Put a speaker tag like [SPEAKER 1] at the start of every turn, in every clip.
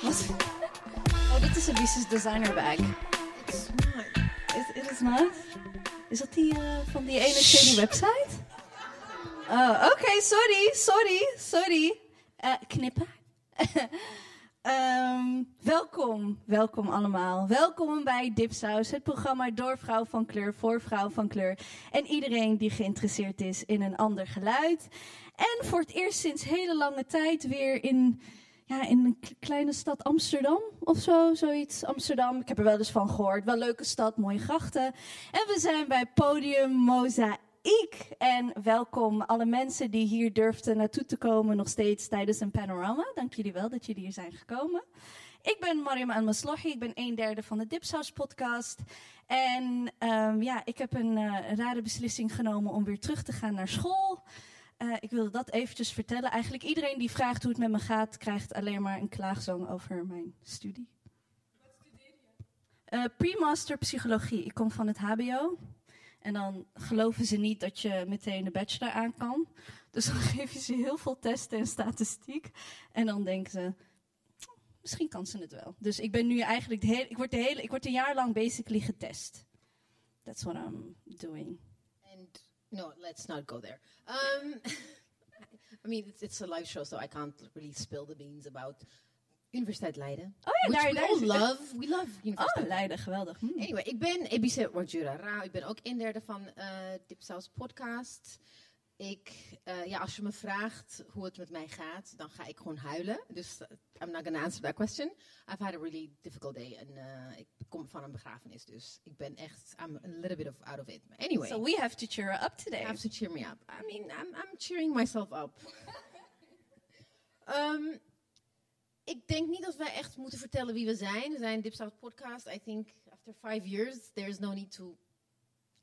[SPEAKER 1] What? Oh, dit is Elise's designer bag.
[SPEAKER 2] It's not.
[SPEAKER 1] Is, it is not? Is dat die eh, van die ene shady website? Oh, oké, sorry, sorry, sorry. Eh, knippen. Ehm, welkom, welkom allemaal. Welkom bij Dipsaus, het programma door vrouw van kleur voor vrouw van kleur. En iedereen die geïnteresseerd is in een ander geluid. En voor het eerst sinds hele lange tijd weer in, ja, in een k- kleine stad Amsterdam of zo, zoiets. Amsterdam, ik heb er wel eens van gehoord. Wel leuke stad, mooie grachten. En we zijn bij podium Mozaïek. En welkom alle mensen die hier durfden naartoe te komen nog steeds tijdens een panorama. Dank jullie wel dat jullie hier zijn gekomen. Ik ben Mariam Al-Maslahi, ik ben een derde van de Dipsaus podcast. En ehm, ja, ik heb een eh, rare beslissing genomen om weer terug te gaan naar school. Eh, ik wilde dat eventjes vertellen. Eigenlijk iedereen die vraagt hoe het met me gaat, krijgt alleen maar een klaagzang over mijn studie. Eh, Pre-master psychologie. Ik kom van het HBO. En dan geloven ze niet dat je meteen de bachelor aan kan. Dus dan geef je ze heel veel testen en statistiek. En dan denken ze, misschien kan ze het wel. Dus ik ben nu eigenlijk, de hele, ik, word de hele, ik word een jaar lang basically getest. That's what I'm doing.
[SPEAKER 2] And no, let's not go there. Um, I mean, it's, it's a live show, so I can't really spill the beans about Universiteit Leiden.
[SPEAKER 1] Oh ja,
[SPEAKER 2] which
[SPEAKER 1] daar,
[SPEAKER 2] we
[SPEAKER 1] daar
[SPEAKER 2] all
[SPEAKER 1] is-
[SPEAKER 2] love. We love Universiteit
[SPEAKER 1] Oh, Leiden, geweldig. Hm.
[SPEAKER 2] Anyway, ik ben Ebice Wardjura Rao. Ik ben ook een derde van eh Dipsaus Podcast. Ik, eh, ja, als je me vraagt hoe het met mij gaat, dan ga ik gewoon huilen. Dus eh, I'm not gonna answer that question. I've had a really difficult day. En eh, ik kom van een begrafenis, dus ik ben echt, I'm a little bit of out of it. Maar Anyway,
[SPEAKER 1] So we have to cheer her up today.
[SPEAKER 2] you have to cheer me up. I mean, I'm, I'm cheering myself up. Ehm, ik denk niet dat wij echt moeten vertellen wie we zijn. We zijn Dip South Podcast. I think after five years, there is no need to I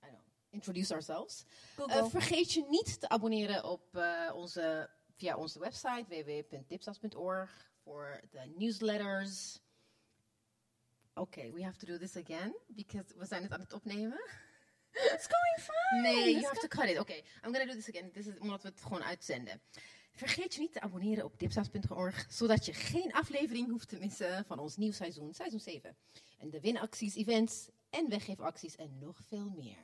[SPEAKER 2] don't know, introduce ourselves.
[SPEAKER 1] Google.
[SPEAKER 2] Eh, vergeet je niet te abonneren op eh, onze, via onze website www.dipsas.org voor de newsletters. Oké, we have to do this again because we zijn het aan het opnemen.
[SPEAKER 1] It's going fine.
[SPEAKER 2] Nee, you
[SPEAKER 1] It's
[SPEAKER 2] have to cut it. Oké, I'm gonna do this again. Dit is omdat we het gewoon uitzenden. Vergeet je niet te abonneren op dipsaus.org, zodat je geen aflevering hoeft te missen van ons nieuw seizoen, seizoen 7. En de winacties, events en weggeefacties en nog veel meer.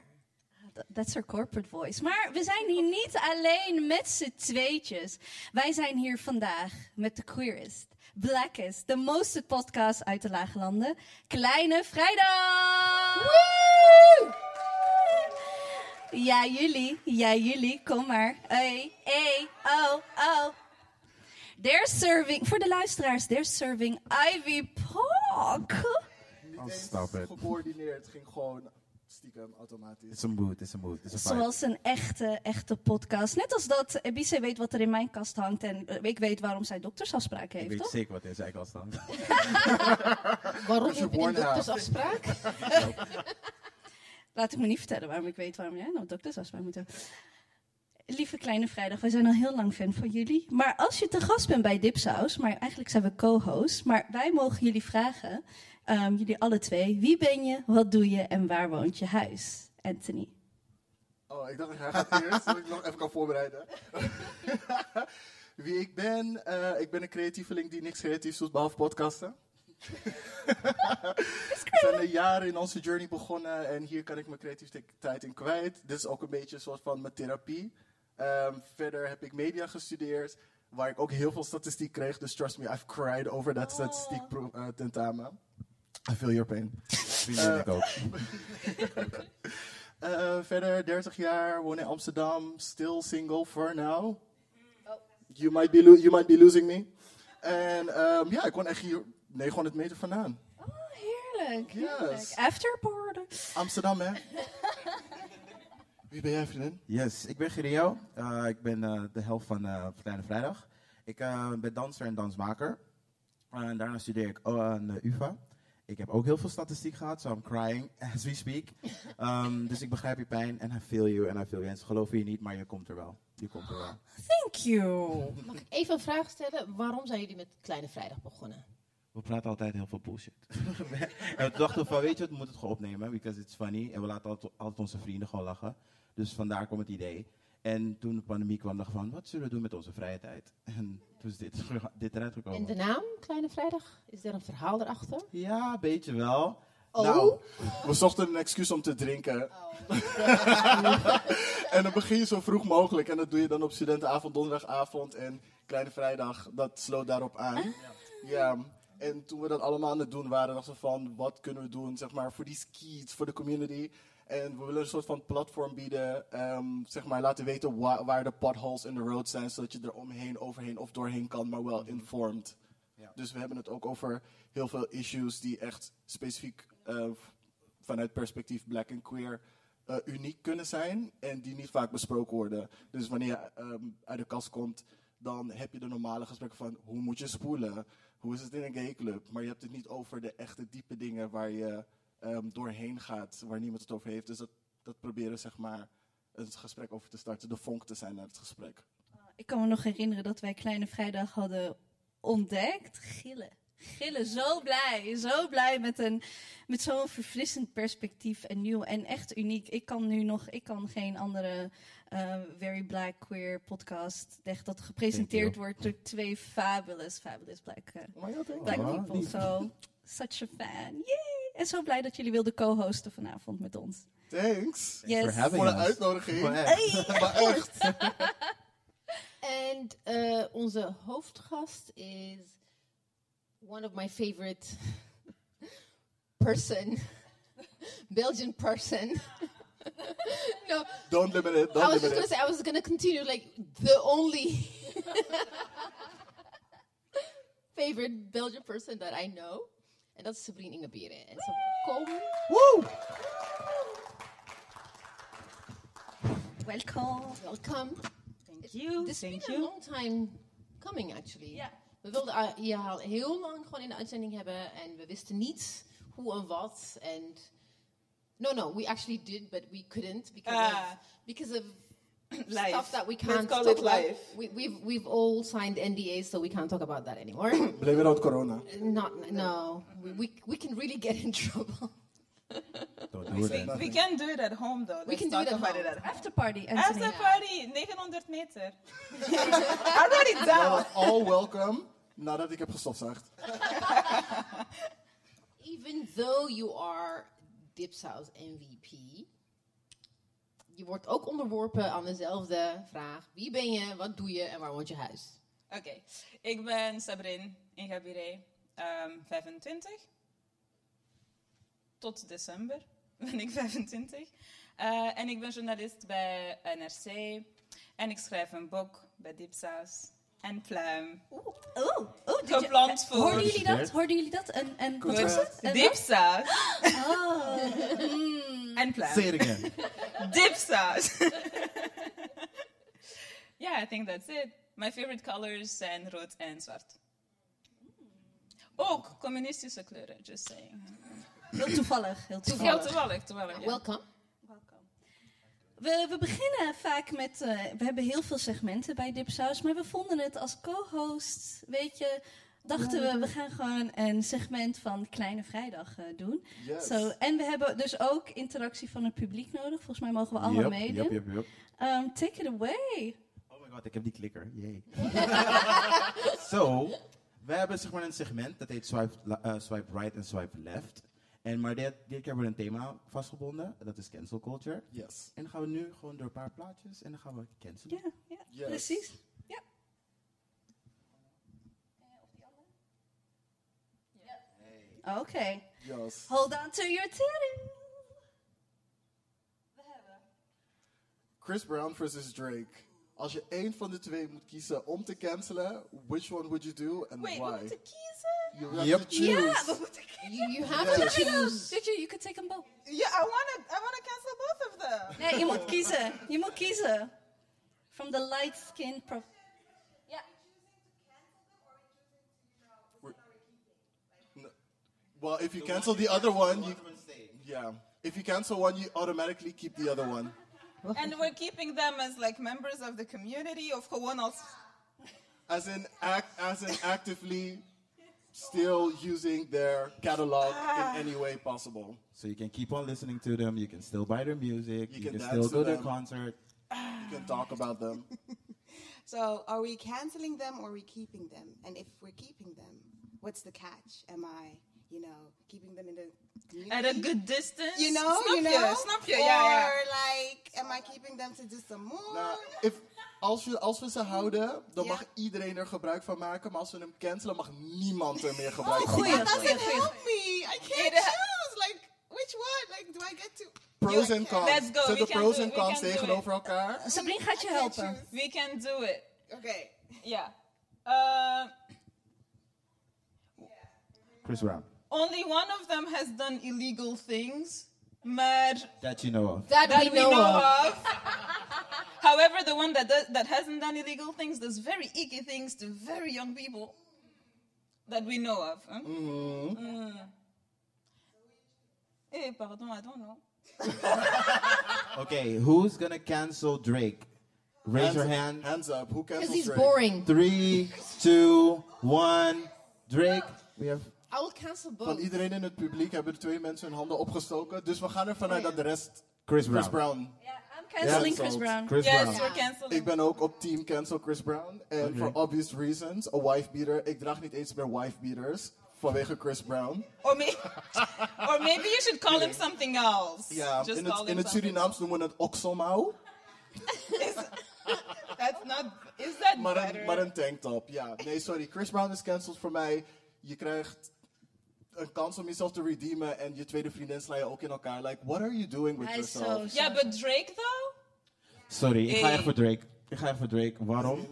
[SPEAKER 1] Th- That's her corporate voice. Maar we zijn hier niet alleen met z'n tweetjes. Wij zijn hier vandaag met de queerest, blackest, de most podcast uit de Lage Landen. Kleine Vrijdag! Ja, jullie. Ja, jullie. Kom maar. Hey, hey, oh, oh. They're serving, voor de luisteraars, they're serving Ivy Park.
[SPEAKER 3] Niet
[SPEAKER 4] Oh,
[SPEAKER 3] eens
[SPEAKER 4] stop it.
[SPEAKER 3] gecoördineerd. Het ging gewoon stiekem automatisch.
[SPEAKER 4] It's a mood, it's a mood, it's a vibe.
[SPEAKER 1] Zoals een echte, echte podcast. Net als dat Ebise weet wat er in mijn kast hangt en eh, ik weet waarom zij doktersafspraken
[SPEAKER 4] ik
[SPEAKER 1] heeft,
[SPEAKER 4] weet
[SPEAKER 1] toch?
[SPEAKER 4] zeker wat in zijn eigen stand.
[SPEAKER 2] Waarom
[SPEAKER 3] Dat
[SPEAKER 2] heb
[SPEAKER 3] is
[SPEAKER 2] je
[SPEAKER 3] een
[SPEAKER 2] een
[SPEAKER 3] worn-out.
[SPEAKER 2] doktersafspraak?
[SPEAKER 1] Laat ik me niet vertellen waarom ik weet waarom jij nou doktersafspraak moet hebben. Lieve Kleine Vrijdag, wij zijn al heel lang fan van jullie. Maar als je te gast bent bij Dipsaus, maar eigenlijk zijn we co-hosts, maar wij mogen jullie vragen, ehm, jullie alle twee, wie ben je, wat doe je en waar woont je huis? Anthony.
[SPEAKER 3] Oh, ik dacht, hij gaat eerst, zodat ik nog even kan voorbereiden. Wie ik ben? eh, ik ben een creatieveling die niks creatiefs doet, behalve podcasten. We zijn een jaar in onze journey begonnen en hier kan ik mijn creativiteit in kwijt. Dit is ook een beetje een soort van mijn therapie. Ehm, verder heb ik media gestudeerd, waar ik ook heel veel statistiek kreeg. Dus trust me, I've cried over dat statistiek pro- eh, tentamen. I feel your pain.
[SPEAKER 4] Vrienden ik ook.
[SPEAKER 3] Eh, verder, 30 jaar, woon in Amsterdam, still single for now. You, might be lo- you might be losing me. En ehm, ja, ik woon echt hier 900 meter vandaan.
[SPEAKER 1] Oh, heerlijk. heerlijk.
[SPEAKER 3] Yes.
[SPEAKER 1] Afterparty.
[SPEAKER 3] Amsterdam, hè? Wie ben jij, vriendin?
[SPEAKER 4] Yes, ik ben Girio. Eh, ik ben eh, de helft van eh, Kleine Vrijdag. Ik eh, ben danser en dansmaker. Eh, en daarna studeer ik oh, aan de UvA. Ik heb ook heel veel statistiek gehad, so I'm crying as we speak. Ehm, dus ik begrijp je pijn en I feel you en I feel you. En ze geloven je niet, maar je komt er wel. Je komt er wel.
[SPEAKER 1] Thank you.
[SPEAKER 2] Mag ik even een vraag stellen? Waarom zijn jullie met Kleine Vrijdag begonnen?
[SPEAKER 4] we praten altijd heel veel bullshit. en we dachten van, weet je, we moeten het gewoon opnemen, because it's funny. En we laten altijd, altijd onze vrienden gewoon lachen. Dus vandaar kwam het idee. En toen de pandemie kwam, dacht ik van, wat zullen we doen met onze vrije tijd? En toen is dit, dit eruit
[SPEAKER 2] En
[SPEAKER 4] gekomen.
[SPEAKER 2] de naam, Kleine Vrijdag, is er een verhaal erachter?
[SPEAKER 4] Ja, een beetje wel.
[SPEAKER 2] Oh.
[SPEAKER 4] Nou,
[SPEAKER 3] We zochten een excuus om te drinken. en dan begin je zo vroeg mogelijk. En dat doe je dan op studentenavond, donderdagavond en kleine vrijdag. Dat sloot daarop aan. Ja. En toen we dat allemaal aan het doen waren, dachten we van wat kunnen we doen zeg maar, voor die skis, voor de community. En we willen een soort van platform bieden, ehm, zeg maar laten weten wa- waar de potholes in de road zijn, zodat je er omheen, overheen of doorheen kan, maar wel informed.
[SPEAKER 4] Ja.
[SPEAKER 3] Dus we hebben het ook over heel veel issues die echt specifiek eh, vanuit perspectief black en queer eh, uniek kunnen zijn en die niet vaak besproken worden. Dus wanneer je ehm, uit de kast komt, dan heb je de normale gesprekken van hoe moet je spoelen, hoe is het in een gay club, maar je hebt het niet over de echte diepe dingen waar je ehm, doorheen gaat, waar niemand het over heeft. Dus dat, dat proberen zeg maar het gesprek over te starten, de vonk te zijn naar het gesprek.
[SPEAKER 1] Ik kan me nog herinneren dat wij Kleine Vrijdag hadden ontdekt. Gillen. Gillen, zo blij. Zo blij met, een- met zo'n verfrissend perspectief en nieuw en echt uniek. Ik kan nu nog, ik kan geen andere eh, Very Black Queer podcast, echt dat gepresenteerd
[SPEAKER 4] Thank
[SPEAKER 1] wordt door twee fabulous, fabulous black, eh, black
[SPEAKER 4] Oh,
[SPEAKER 1] people.
[SPEAKER 4] lief.
[SPEAKER 1] So, such a fan. Yay! En zo blij dat jullie wilden co-hosten vanavond met ons.
[SPEAKER 3] Thanks
[SPEAKER 1] Yes.
[SPEAKER 4] for having
[SPEAKER 3] voor de
[SPEAKER 4] us.
[SPEAKER 3] uitnodiging.
[SPEAKER 4] Gewoon echt.
[SPEAKER 3] Maar echt.
[SPEAKER 2] En eh, onze hoofdgast is one of my favorite person, Belgian person. no,
[SPEAKER 3] Don't limit it,
[SPEAKER 2] I
[SPEAKER 3] don't
[SPEAKER 2] was
[SPEAKER 3] limit
[SPEAKER 2] just gonna
[SPEAKER 3] it.
[SPEAKER 2] say I was gonna continue like the only favorite Belgian person that I know, en dat is Sabrine Ingebieren. En ze komen.
[SPEAKER 4] Woe!
[SPEAKER 1] Welkom.
[SPEAKER 2] Welcome.
[SPEAKER 1] Thank you.
[SPEAKER 2] This has been a long time coming, actually.
[SPEAKER 1] Ja.
[SPEAKER 2] We wilden eh, je al heel lang gewoon in de uitzending hebben en we wisten niet hoe en wat. En no, no, we actually did, but we couldn't because
[SPEAKER 5] Ah.
[SPEAKER 2] of, because of
[SPEAKER 5] Life.
[SPEAKER 2] stuff that we
[SPEAKER 5] Let's
[SPEAKER 2] can't
[SPEAKER 5] call
[SPEAKER 2] talk
[SPEAKER 5] it
[SPEAKER 2] about.
[SPEAKER 5] life.
[SPEAKER 2] We, we've we've all signed NDAs, so we can't talk about that anymore.
[SPEAKER 3] Blame it on corona.
[SPEAKER 2] Not no, we,
[SPEAKER 5] Mm-hmm.
[SPEAKER 2] we we can really get in trouble.
[SPEAKER 4] Don't do
[SPEAKER 5] We,
[SPEAKER 4] it.
[SPEAKER 5] we can do it at home though.
[SPEAKER 2] We
[SPEAKER 5] Let's
[SPEAKER 2] can do
[SPEAKER 5] talk
[SPEAKER 2] it at
[SPEAKER 5] about
[SPEAKER 2] home.
[SPEAKER 5] it at home.
[SPEAKER 1] After party, Anthony.
[SPEAKER 5] After party, 900 meter. I wrote it down.
[SPEAKER 3] All welcome nadat ik heb gestofzuigd.
[SPEAKER 2] Even though you are Dipsaus MVP, je wordt ook onderworpen aan dezelfde vraag. Wie ben je, wat doe je en waar woont je huis?
[SPEAKER 5] Oké, ik ben Sabrin Ingabire, ehm 25. Tot december ben ik 25. Eh, en ik ben journalist bij NRC. En ik schrijf een boek bij Dipsaus en Pluim.
[SPEAKER 1] Oh, oh, did
[SPEAKER 5] Gepland
[SPEAKER 1] je, hoorden
[SPEAKER 5] voor
[SPEAKER 1] jullie dat? Hoorden jullie dat? En, en wat was het? En-
[SPEAKER 5] Dipsaus
[SPEAKER 1] Oh.
[SPEAKER 5] en Pluim.
[SPEAKER 4] Say it again.
[SPEAKER 5] dip sauce. yeah, I think that's it. My favorite colors zijn rood en zwart. Ook communistische kleuren, just saying.
[SPEAKER 1] Heel toevallig, heel
[SPEAKER 5] Heel
[SPEAKER 1] toevallig.
[SPEAKER 5] toevallig, toevallig. ja.
[SPEAKER 2] Welkom.
[SPEAKER 1] We, we beginnen vaak met, eh, we hebben heel veel segmenten bij Dipsaus, maar we vonden het als co-host, weet je, dachten we, we gaan gewoon een segment van Kleine Vrijdag eh, doen.
[SPEAKER 3] Yes.
[SPEAKER 1] Zo, en we hebben dus ook interactie van het publiek nodig, volgens mij mogen we allemaal
[SPEAKER 4] Yup,
[SPEAKER 1] meedoen.
[SPEAKER 4] yup, yup, yup.
[SPEAKER 1] Ehm, take it away.
[SPEAKER 4] Oh my god, ik heb die klikker. Yay. so, we hebben zeg maar een segment dat heet swipe, la- eh, swipe right en swipe left. En maar dit, dit keer hebben we een thema vastgebonden. Dat is cancel culture.
[SPEAKER 3] Yes.
[SPEAKER 4] En dan gaan we nu gewoon door een paar plaatjes en dan gaan we cancelen.
[SPEAKER 1] Ja, ja,
[SPEAKER 3] Yes.
[SPEAKER 1] precies. Ja. Oké.
[SPEAKER 3] Yes.
[SPEAKER 1] Hold on to your titty.
[SPEAKER 3] Chris Brown versus Drake. Als je één van de twee moet kiezen om te cancelen, which one would you do and
[SPEAKER 5] Wait, we
[SPEAKER 3] why?
[SPEAKER 5] moeten kiezen?
[SPEAKER 3] You have
[SPEAKER 4] Yep.
[SPEAKER 3] to choose.
[SPEAKER 2] You, you have to choose.
[SPEAKER 1] Did you, you could take them both.
[SPEAKER 5] Yeah, I wanna, I wanna cancel both of them.
[SPEAKER 1] Nee, je moet kiezen. Je moet kiezen. From the light skin prof...
[SPEAKER 3] Well, if you cancel the other one, you, yeah. If you cancel one, you automatically keep the other one.
[SPEAKER 5] And we're keeping them as like members of the community of gewoon als...
[SPEAKER 3] As in, act, as in actively still using their catalog in any way possible.
[SPEAKER 4] So you can keep on listening to them. You can still buy their music.
[SPEAKER 3] You
[SPEAKER 4] You,
[SPEAKER 3] can
[SPEAKER 4] can
[SPEAKER 3] dance to
[SPEAKER 4] still go to
[SPEAKER 3] them.
[SPEAKER 4] concert.
[SPEAKER 3] You can talk about them.
[SPEAKER 6] So, are we canceling them or are we keeping them? And if we're keeping them, what's the catch? Am I, you know, keeping them in the
[SPEAKER 5] At a good distance.
[SPEAKER 6] you know,
[SPEAKER 5] snap
[SPEAKER 6] you know,
[SPEAKER 5] Je, snap je?
[SPEAKER 6] or
[SPEAKER 5] Ja, ja.
[SPEAKER 6] like, am I keeping them to do some more?
[SPEAKER 3] Nou, if, als, we, als we ze houden, dan
[SPEAKER 6] Ja.
[SPEAKER 3] mag iedereen er gebruik van maken. Maar als we hem cancelen, mag niemand er meer
[SPEAKER 5] Oh,
[SPEAKER 3] gebruik van
[SPEAKER 1] goeie.
[SPEAKER 6] that
[SPEAKER 3] maken.
[SPEAKER 6] doesn't help me. I can't
[SPEAKER 5] It ha-
[SPEAKER 6] choose. Like, which one? Like, do I get to?
[SPEAKER 3] Pros en cons.
[SPEAKER 5] Let's go,
[SPEAKER 3] Zet
[SPEAKER 5] we
[SPEAKER 3] de
[SPEAKER 5] can
[SPEAKER 3] pros
[SPEAKER 5] do
[SPEAKER 3] en
[SPEAKER 5] it, we
[SPEAKER 3] cons
[SPEAKER 5] can do
[SPEAKER 3] tegenover elkaar.
[SPEAKER 1] Sabrine gaat je
[SPEAKER 6] I can't
[SPEAKER 1] helpen.
[SPEAKER 6] choose.
[SPEAKER 5] We can do it.
[SPEAKER 6] Okay.
[SPEAKER 5] Ja. Uh,
[SPEAKER 4] Chris Brown.
[SPEAKER 5] only one of them has done illegal things, maar
[SPEAKER 4] That you know of.
[SPEAKER 2] That,
[SPEAKER 5] that we know of. However, the one that does, that hasn't done illegal things does very icky things to very young people that we know of. Huh? Mm. Eh, pardon, I don't know.
[SPEAKER 4] Okay, who's gonna cancel Drake? Raise your hand.
[SPEAKER 3] Hands up. Who
[SPEAKER 2] Because
[SPEAKER 3] cancels
[SPEAKER 2] he's
[SPEAKER 3] Drake?
[SPEAKER 2] boring.
[SPEAKER 4] Three, two, one. Drake. We have.
[SPEAKER 2] I will cancel
[SPEAKER 3] Van
[SPEAKER 2] both.
[SPEAKER 3] iedereen in het publiek hebben er twee mensen hun handen opgestoken. Dus we gaan ervan uit dat de rest
[SPEAKER 4] Chris Brown.
[SPEAKER 3] Chris Brown.
[SPEAKER 1] Ja, I'm canceling Chris Brown.
[SPEAKER 4] Chris
[SPEAKER 5] yes,
[SPEAKER 4] Brown.
[SPEAKER 5] we're canceling.
[SPEAKER 3] Ik ben ook op team cancel Chris Brown. En for obvious reasons, een wife beater. Ik draag niet eens meer wife beaters vanwege Chris Brown.
[SPEAKER 5] Or, may- or maybe you should call him something else.
[SPEAKER 3] Ja,
[SPEAKER 5] Just
[SPEAKER 3] in het,
[SPEAKER 5] call
[SPEAKER 3] in
[SPEAKER 5] him
[SPEAKER 3] het
[SPEAKER 5] something.
[SPEAKER 3] Surinaams noemen we het okselmouw.
[SPEAKER 5] That's not. Is that
[SPEAKER 3] Maar
[SPEAKER 5] better?
[SPEAKER 3] een, maar een tanktop, ja. Nee, sorry. Chris Brown is cancelled voor mij. Je krijgt een kans om jezelf te redeemen. En je tweede vriendin sla je ook in elkaar. Like, what are you doing with
[SPEAKER 1] Hij is
[SPEAKER 3] yourself?
[SPEAKER 1] zo.
[SPEAKER 5] yeah, but Drake though.
[SPEAKER 4] Sorry, ik ga
[SPEAKER 5] Hey.
[SPEAKER 4] echt voor Drake. Ik ga echt voor Drake. Waarom?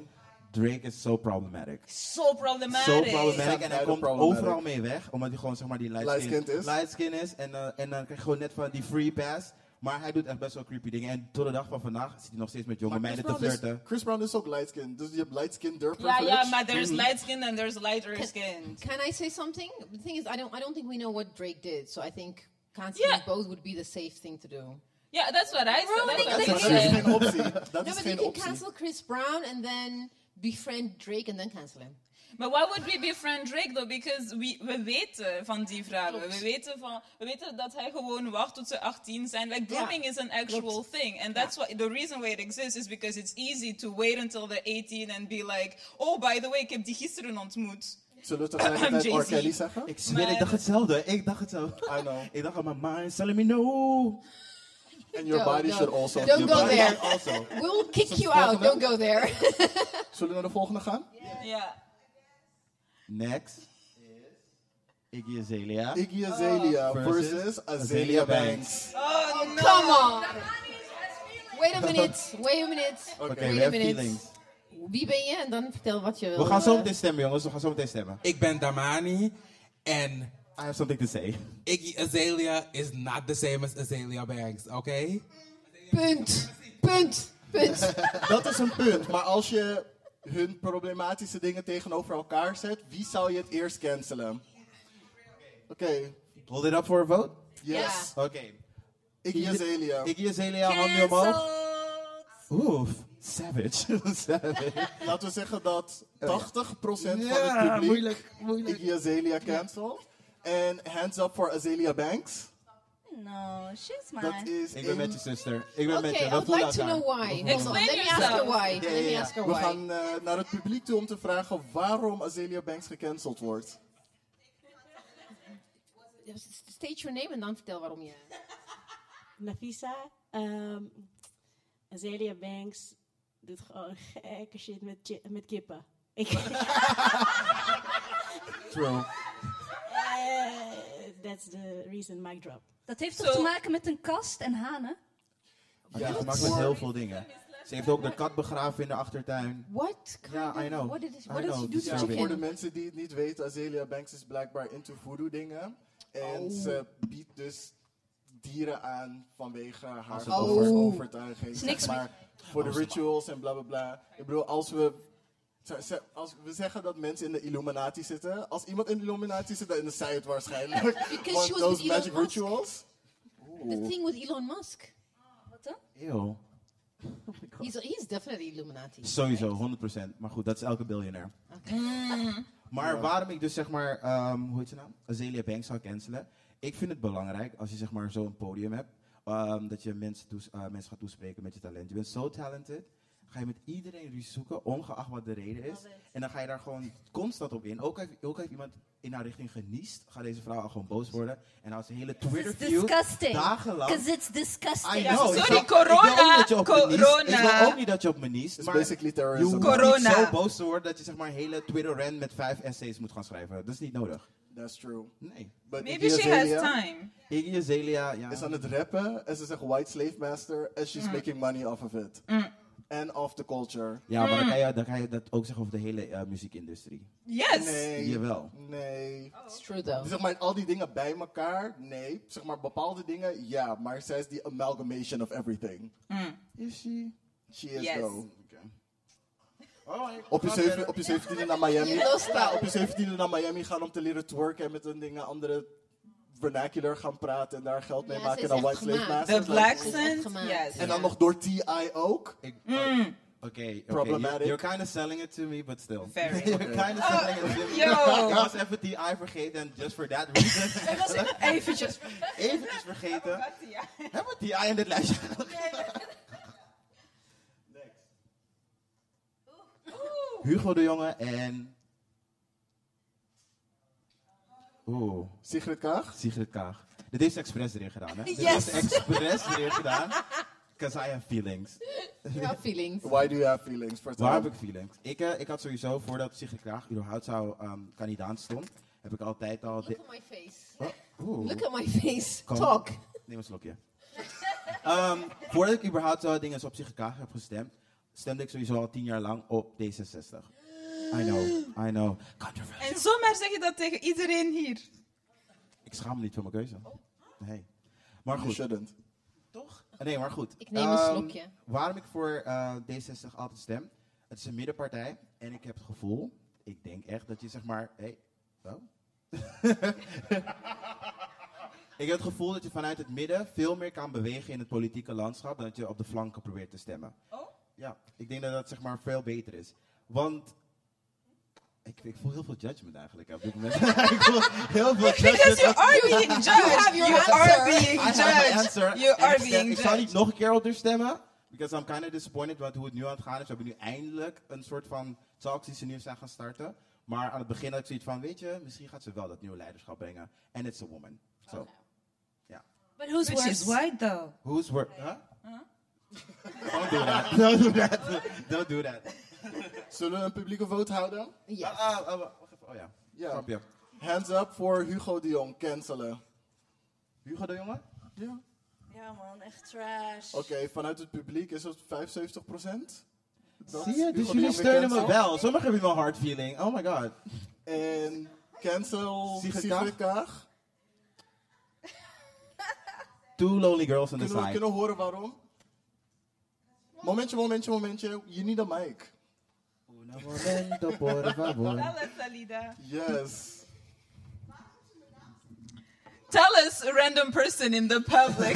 [SPEAKER 4] Drake is zo problematic.
[SPEAKER 5] So problematic.
[SPEAKER 4] Zo problematic en hij
[SPEAKER 3] Beide
[SPEAKER 4] komt
[SPEAKER 3] problematic.
[SPEAKER 4] overal mee weg, omdat hij gewoon zeg maar die light,
[SPEAKER 3] Light
[SPEAKER 4] skin,
[SPEAKER 3] skinned is.
[SPEAKER 4] Light skin is en, eh, en dan krijg je gewoon net van die free pass. Maar hij doet echt best wel creepy dingen. En tot de dag van vandaag zit hij nog steeds met jonge
[SPEAKER 3] Maar
[SPEAKER 4] meiden te
[SPEAKER 3] Chris Brown is-
[SPEAKER 4] flirten.
[SPEAKER 3] Chris Brown is ook light skin. Dus je hebt light skin durf
[SPEAKER 5] Yeah, yeah,
[SPEAKER 3] privilege.
[SPEAKER 5] but there's light skin and there's lighter skin.
[SPEAKER 2] Can I say something? The thing is, I don't, I don't think we know what Drake did, so I think canceling
[SPEAKER 5] Yeah.
[SPEAKER 2] both would be the safe thing to do.
[SPEAKER 5] Yeah, that's what I said. That's
[SPEAKER 1] Ruining
[SPEAKER 5] what I
[SPEAKER 1] the
[SPEAKER 3] Maar
[SPEAKER 5] said.
[SPEAKER 3] dat is geen optie. Dat
[SPEAKER 2] No,
[SPEAKER 3] is
[SPEAKER 2] but you
[SPEAKER 3] geen
[SPEAKER 2] can
[SPEAKER 3] optie.
[SPEAKER 2] cancel Chris Brown and then befriend Drake and then cancel him.
[SPEAKER 5] Maar why would we befriend Drake though? Because we, we weten van die vrouwen. We weten, van, we weten dat hij gewoon wacht tot ze 18 zijn. Like, grooming is an actual thing. And that's why the reason why it exists is because it's easy to wait until they're 18 and be like, oh, by the way, ik heb die gisteren ontmoet.
[SPEAKER 3] Zullen we tegelijkertijd
[SPEAKER 5] Jay-Z.
[SPEAKER 3] R. Kelly zeggen?
[SPEAKER 4] Ik zweer, ik
[SPEAKER 5] Maar-
[SPEAKER 4] dacht hetzelfde. Ik dacht hetzelfde.
[SPEAKER 3] I know.
[SPEAKER 4] Ik dacht aan mijn mind, telling me no.
[SPEAKER 3] And
[SPEAKER 2] Don't,
[SPEAKER 3] your body
[SPEAKER 2] don't.
[SPEAKER 3] should also.
[SPEAKER 2] Don't
[SPEAKER 3] Your
[SPEAKER 2] go
[SPEAKER 3] body
[SPEAKER 2] there.
[SPEAKER 3] should Also.
[SPEAKER 2] We'll kick you
[SPEAKER 3] volgende?
[SPEAKER 2] out. Don't go there.
[SPEAKER 3] Zullen we naar de volgende gaan?
[SPEAKER 5] Ja.
[SPEAKER 4] Next is Iggy Azalea.
[SPEAKER 3] Iggy Azalea
[SPEAKER 4] Versus
[SPEAKER 3] versus Azalea
[SPEAKER 4] Azalea
[SPEAKER 3] Banks.
[SPEAKER 4] Banks.
[SPEAKER 5] Oh, no.
[SPEAKER 2] Come on. Wait a minute. Wait a minute.
[SPEAKER 3] Oké,
[SPEAKER 4] Oké, we
[SPEAKER 2] wait a
[SPEAKER 4] hebben
[SPEAKER 2] minute.
[SPEAKER 4] feelings.
[SPEAKER 2] Wie ben je? En dan vertel wat je wil.
[SPEAKER 4] We gaan zo
[SPEAKER 2] eh,
[SPEAKER 4] meteen stemmen, jongens. We gaan zo meteen stemmen.
[SPEAKER 7] Ik ben Damani and
[SPEAKER 4] I have something to say.
[SPEAKER 7] Iggy Azalea is not the same as Azalea Banks, okay?
[SPEAKER 2] Punt. Punt. Punt.
[SPEAKER 3] Dat is een punt. Maar als je hun problematische dingen tegenover elkaar zet, wie zou je het eerst cancelen? Oké,
[SPEAKER 4] Hold it up for a vote.
[SPEAKER 3] yes.
[SPEAKER 4] Oké.
[SPEAKER 3] Iggy Azalea.
[SPEAKER 4] Iggy Azalea, handen omhoog.
[SPEAKER 1] Cancelled.
[SPEAKER 4] Oeh, savage. savage.
[SPEAKER 3] Laten we zeggen dat 80% van het
[SPEAKER 4] Ja,
[SPEAKER 3] publiek
[SPEAKER 4] moeilijk, moeilijk.
[SPEAKER 3] Iggy Azalea cancelt. En hands up for Azalea Banks.
[SPEAKER 1] No, she's mine.
[SPEAKER 3] Dat is
[SPEAKER 4] Ik ben
[SPEAKER 3] een-
[SPEAKER 4] met je zuster. Ik ben met je.
[SPEAKER 2] Okay, I
[SPEAKER 4] We
[SPEAKER 2] would
[SPEAKER 4] voelen
[SPEAKER 2] like to
[SPEAKER 4] elkaar.
[SPEAKER 2] know why.
[SPEAKER 4] We
[SPEAKER 2] Hold on.
[SPEAKER 4] voelen
[SPEAKER 5] Explain
[SPEAKER 2] Let me ask her
[SPEAKER 5] yourself.
[SPEAKER 2] why.
[SPEAKER 3] Ja,
[SPEAKER 2] Let
[SPEAKER 3] ja,
[SPEAKER 2] me
[SPEAKER 3] ja.
[SPEAKER 2] ask her
[SPEAKER 3] We
[SPEAKER 2] why.
[SPEAKER 3] gaan eh, naar het publiek toe om te vragen waarom Azalea Banks gecanceld wordt.
[SPEAKER 2] State your name en dan vertel waarom je.
[SPEAKER 8] Nafisa, ehm, Azalea Banks doet gewoon gekke shit met, chi- met kippen. Ik,
[SPEAKER 4] True.
[SPEAKER 8] Eh, that's the reason mic drop.
[SPEAKER 1] Dat heeft
[SPEAKER 5] Zo.
[SPEAKER 1] toch te maken met een kast en hanen?
[SPEAKER 4] Het heeft gemaakt met heel veel dingen. Ze heeft ook de kat begraven in de achtertuin.
[SPEAKER 2] What kind
[SPEAKER 4] Ja,
[SPEAKER 2] of,
[SPEAKER 4] I know.
[SPEAKER 2] What did, it,
[SPEAKER 4] I
[SPEAKER 2] what did
[SPEAKER 4] know,
[SPEAKER 2] she do
[SPEAKER 4] this
[SPEAKER 2] to
[SPEAKER 4] is
[SPEAKER 3] Ja, voor de
[SPEAKER 2] chicken?
[SPEAKER 3] mensen die het niet weten, Azalea Banks is blijkbaar into voodoo dingen. En
[SPEAKER 2] Oh.
[SPEAKER 3] ze biedt dus dieren aan vanwege haar
[SPEAKER 4] een
[SPEAKER 3] over-
[SPEAKER 2] offer.
[SPEAKER 3] overtuiging.
[SPEAKER 1] Is
[SPEAKER 3] Zeg
[SPEAKER 1] niks
[SPEAKER 3] maar voor de rituals en bla bla bla. Ik bedoel, als we, ze- ze- als we zeggen dat mensen in de Illuminati zitten. Als iemand in de Illuminati zit, dan is zij het waarschijnlijk.
[SPEAKER 2] Because
[SPEAKER 3] Want
[SPEAKER 2] she was
[SPEAKER 3] those
[SPEAKER 2] with Elon
[SPEAKER 3] magic
[SPEAKER 2] Musk.
[SPEAKER 3] rituals.
[SPEAKER 2] The thing with Elon Musk.
[SPEAKER 1] Wat dan?
[SPEAKER 4] Eeuw.
[SPEAKER 2] He's, he's definitely Illuminati.
[SPEAKER 4] Sowieso, 100%. Maar goed, dat is elke biljonair. Maar waarom ik dus zeg maar, ehm, hoe heet je naam? Azealia Banks zou cancelen. Ik vind het belangrijk als je zeg maar zo'n podium hebt, ehm, dat je mensen, toes- eh, mensen gaat toespreken met je talent. Je bent zo talented, ga je met iedereen ruzie zoeken, ongeacht wat de reden is. En dan ga je daar gewoon constant op in. Ook heeft, ook heeft iemand in haar richting geniest, gaat deze vrouw al gewoon boos worden. En als een hele Twitter
[SPEAKER 1] It's
[SPEAKER 4] view
[SPEAKER 1] disgusting.
[SPEAKER 4] dagenlang.
[SPEAKER 1] Because it's
[SPEAKER 4] I
[SPEAKER 1] disgusting.
[SPEAKER 5] Ja,
[SPEAKER 4] know, ik
[SPEAKER 5] sorry,
[SPEAKER 4] wil- ik wil ook
[SPEAKER 5] corona,
[SPEAKER 4] niet dat je op me niest.
[SPEAKER 5] corona.
[SPEAKER 4] Ik wil ook niet dat je op me niest.
[SPEAKER 3] is
[SPEAKER 4] maar-
[SPEAKER 3] basically
[SPEAKER 4] je
[SPEAKER 3] terrorism.
[SPEAKER 4] hoeft
[SPEAKER 5] Corona.
[SPEAKER 4] niet zo boos te worden dat je zeg maar een hele Twitter rant met vijf essays moet gaan schrijven. Dat is niet nodig.
[SPEAKER 3] That's true.
[SPEAKER 4] Nee.
[SPEAKER 3] But
[SPEAKER 5] Maybe
[SPEAKER 3] Iggy
[SPEAKER 5] she has
[SPEAKER 3] Azalea
[SPEAKER 5] time.
[SPEAKER 4] Iggy Azalea, ja.
[SPEAKER 3] is aan het rappen en ze zegt white slave master en
[SPEAKER 2] Mm.
[SPEAKER 3] she's making money off of it. And off the culture.
[SPEAKER 4] Ja, maar dan
[SPEAKER 5] Mm.
[SPEAKER 4] kan, je, dan kan je dat ook zeggen over de hele eh, muziekindustrie.
[SPEAKER 5] Yes.
[SPEAKER 3] Nee.
[SPEAKER 4] Jawel.
[SPEAKER 3] Nee.
[SPEAKER 2] It's true though.
[SPEAKER 3] Zeg maar al die dingen bij elkaar, nee. Zeg maar bepaalde dingen, ja. Maar zij is die amalgamation of everything.
[SPEAKER 2] Mm.
[SPEAKER 3] Is she? She is
[SPEAKER 5] Yes.
[SPEAKER 3] though.
[SPEAKER 4] Oh,
[SPEAKER 3] Op je, zeven, op je 17e naar Miami.
[SPEAKER 2] Heel snel.
[SPEAKER 3] Ja, op je 17e naar Miami gaan om te leren twerken en met een dingen andere vernacular gaan praten en daar geld mee
[SPEAKER 2] Ja, ze
[SPEAKER 3] maken
[SPEAKER 2] is
[SPEAKER 3] dan
[SPEAKER 2] echt
[SPEAKER 3] white slave
[SPEAKER 2] gemaakt.
[SPEAKER 5] The
[SPEAKER 3] masters.
[SPEAKER 5] black
[SPEAKER 2] Ze is echt
[SPEAKER 5] scent.
[SPEAKER 2] gemaakt.
[SPEAKER 5] Yes.
[SPEAKER 3] En dan nog door T.I. ook.
[SPEAKER 4] oh,
[SPEAKER 5] Mm.
[SPEAKER 4] Oké, oké.
[SPEAKER 3] Problematic.
[SPEAKER 4] You're, you're kind of selling it to me, but still.
[SPEAKER 5] Very. Oh,
[SPEAKER 4] you're kind of selling it to me.
[SPEAKER 5] yo.
[SPEAKER 4] Ik was even die I vergeten en just for that reason.
[SPEAKER 5] Eventjes.
[SPEAKER 4] Eventjes vergeten. Hebben we die I in dit lijstje gehad? Hugo de Jonge en... Oeh,
[SPEAKER 3] Sigrid Kaag.
[SPEAKER 4] Oh, Sigrid Kaag. Dit heeft ze expres erin gedaan, hè? Dit
[SPEAKER 1] Yes.
[SPEAKER 4] heeft ze expres erin gedaan. Because I have feelings.
[SPEAKER 2] Ja, feelings.
[SPEAKER 3] Why do you have feelings? Vertel.
[SPEAKER 4] Waar heb ik feelings? Ik, eh, ik had sowieso, voordat Sigrid Kaag überhaupt zou ehm kandidaat stond, heb ik altijd al...
[SPEAKER 2] Look
[SPEAKER 4] de-
[SPEAKER 2] at my face.
[SPEAKER 4] Oh, oeh.
[SPEAKER 2] Look at my face.
[SPEAKER 4] Kom.
[SPEAKER 2] Talk.
[SPEAKER 4] Neem een slokje. Ehm, voordat ik überhaupt zo dingen op zich graag heb gestemd, stemde ik sowieso al tien jaar lang op D66. I know, I know. Controversial.
[SPEAKER 5] En zomaar zeg je dat tegen iedereen hier.
[SPEAKER 4] Ik schaam me niet voor mijn keuze. Nee. Maar
[SPEAKER 3] You
[SPEAKER 4] goed.
[SPEAKER 3] shouldn't.
[SPEAKER 4] Toch? Nee, maar goed.
[SPEAKER 2] Ik neem een
[SPEAKER 4] Ehm,
[SPEAKER 2] slokje.
[SPEAKER 4] Waarom ik voor eh, D66 altijd stem? Het is een middenpartij en ik heb het gevoel, ik denk echt dat je zeg maar, hey, oh. ik heb het gevoel dat je vanuit het midden veel meer kan bewegen in het politieke landschap dan dat je op de flanken probeert te stemmen.
[SPEAKER 5] Oh?
[SPEAKER 4] Ja, ik denk dat dat zeg maar veel beter is. Want ik, ik voel heel veel judgment eigenlijk op dit moment. ik voel heel veel
[SPEAKER 5] Because
[SPEAKER 4] judgment.
[SPEAKER 5] you are being judged. You, are being
[SPEAKER 4] I have my
[SPEAKER 5] judged.
[SPEAKER 4] answer.
[SPEAKER 5] You
[SPEAKER 4] En
[SPEAKER 5] are
[SPEAKER 4] ik, stem-
[SPEAKER 5] being
[SPEAKER 4] ik zou niet
[SPEAKER 5] judged.
[SPEAKER 4] nog een keer op haar stemmen. Because I'm kind of disappointed wat hoe het nu aan het gaan is. We hebben nu eindelijk een soort van talks die ze nu zijn gaan starten. Maar aan het begin had ik zoiets van, weet je, misschien gaat ze wel dat nieuwe leiderschap brengen. En it's a woman. So,
[SPEAKER 1] But who's
[SPEAKER 5] Which
[SPEAKER 1] worse?
[SPEAKER 5] is white though.
[SPEAKER 4] who's work? Huh? Don't do that. Don't do that. Don't do that.
[SPEAKER 3] Zullen we een publieke vote houden?
[SPEAKER 2] Ja.
[SPEAKER 4] Ah, ah, wacht even. Oh ja.
[SPEAKER 3] Ja.
[SPEAKER 4] Grapje.
[SPEAKER 3] Hands up voor Hugo de Jong. Cancelen.
[SPEAKER 4] Hugo de Jonge?
[SPEAKER 3] Ja.
[SPEAKER 1] Ja man, echt trash.
[SPEAKER 4] Oh.
[SPEAKER 3] Oké, vanuit het publiek is dat 75%. Dat
[SPEAKER 4] Zie je?
[SPEAKER 3] Hugo de
[SPEAKER 4] Dus
[SPEAKER 3] Jong
[SPEAKER 4] jullie
[SPEAKER 3] weer
[SPEAKER 4] steunen me
[SPEAKER 3] cancelt.
[SPEAKER 4] wel. Sommigen hebben wel hard feeling. Oh my god.
[SPEAKER 3] En cancel
[SPEAKER 4] Sigrid
[SPEAKER 3] Sigrid Kaag.
[SPEAKER 4] Two lonely girls on the
[SPEAKER 3] Kunnen we
[SPEAKER 4] side.
[SPEAKER 3] kunnen we horen waarom? Momentje, momentje, momentje. You need a mic.
[SPEAKER 4] Un momento, por favor.
[SPEAKER 5] Tell us, Alida.
[SPEAKER 3] Yes.
[SPEAKER 5] Tell us, a random person in the public.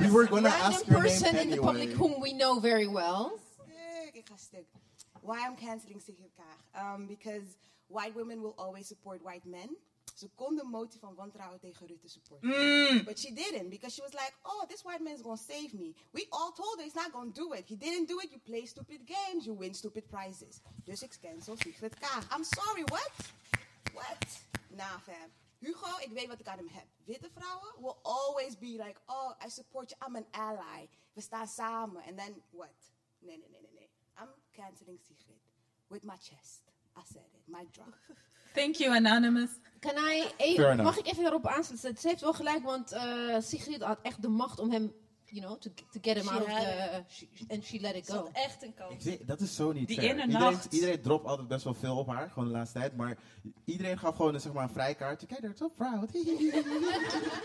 [SPEAKER 3] We were gonna
[SPEAKER 2] Random
[SPEAKER 3] ask your name
[SPEAKER 2] person in the
[SPEAKER 3] anyway.
[SPEAKER 2] public whom we know very well.
[SPEAKER 6] Stuk, ik ga stuk. eh, Why I'm canceling Sigrid Kaag? Um, because white women will always support white men. Ze kon de motie van wantrouwen tegen Rutte supporten. But she didn't, because she was like, oh, this white man is going to save me. We all told her he's not going to do it. He didn't do it. You play stupid games. You win stupid prizes. Dus ik cancel Sigrid Kaag. I'm sorry, what? What? Nah, fam. Hugo, ik weet wat ik aan hem heb. Witte vrouwen will always be like, oh, I support you. I'm an ally. We staan samen. And then what? Nee, nee, nee, nee, nee. I'm canceling Sigrid. With my chest. I said it. My drop.
[SPEAKER 5] Thank you, Anonymous.
[SPEAKER 2] Kan hij
[SPEAKER 4] Fair
[SPEAKER 2] even,
[SPEAKER 4] enough.
[SPEAKER 2] eh, mag ik even daarop aansluiten? Ze heeft wel gelijk, want eh, Sigrid had echt de macht om hem, you know, to, to get him
[SPEAKER 1] She
[SPEAKER 2] out of
[SPEAKER 1] had
[SPEAKER 2] the... And she let it
[SPEAKER 1] Ze had
[SPEAKER 2] go.
[SPEAKER 1] echt een
[SPEAKER 4] Ik
[SPEAKER 1] kans.
[SPEAKER 4] zie- dat is zo niet
[SPEAKER 5] Die
[SPEAKER 4] fair.
[SPEAKER 5] ene
[SPEAKER 4] iedereen,
[SPEAKER 5] nacht.
[SPEAKER 4] iedereen dropt altijd best wel veel op haar, gewoon de laatste tijd. Maar iedereen gaf gewoon een, zeg maar, een vrijkaartje. Kijk, daar is zo proud.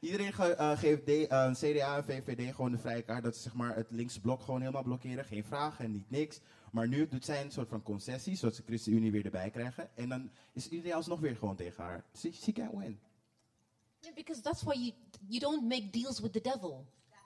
[SPEAKER 4] iedereen ge- eh, geeft D, eh, CDA en VVD gewoon de vrijkaart. Dat ze zeg maar, het linkse blok gewoon helemaal blokkeren. Geen vragen en niet niks. Maar nu doet zij een soort van concessie, zodat ze ChristenUnie weer erbij krijgen. En dan is iedereen alsnog weer gewoon tegen haar. She, she can't win.
[SPEAKER 2] Yeah, because that's why you, you don't make deals with the devil.
[SPEAKER 4] Ja,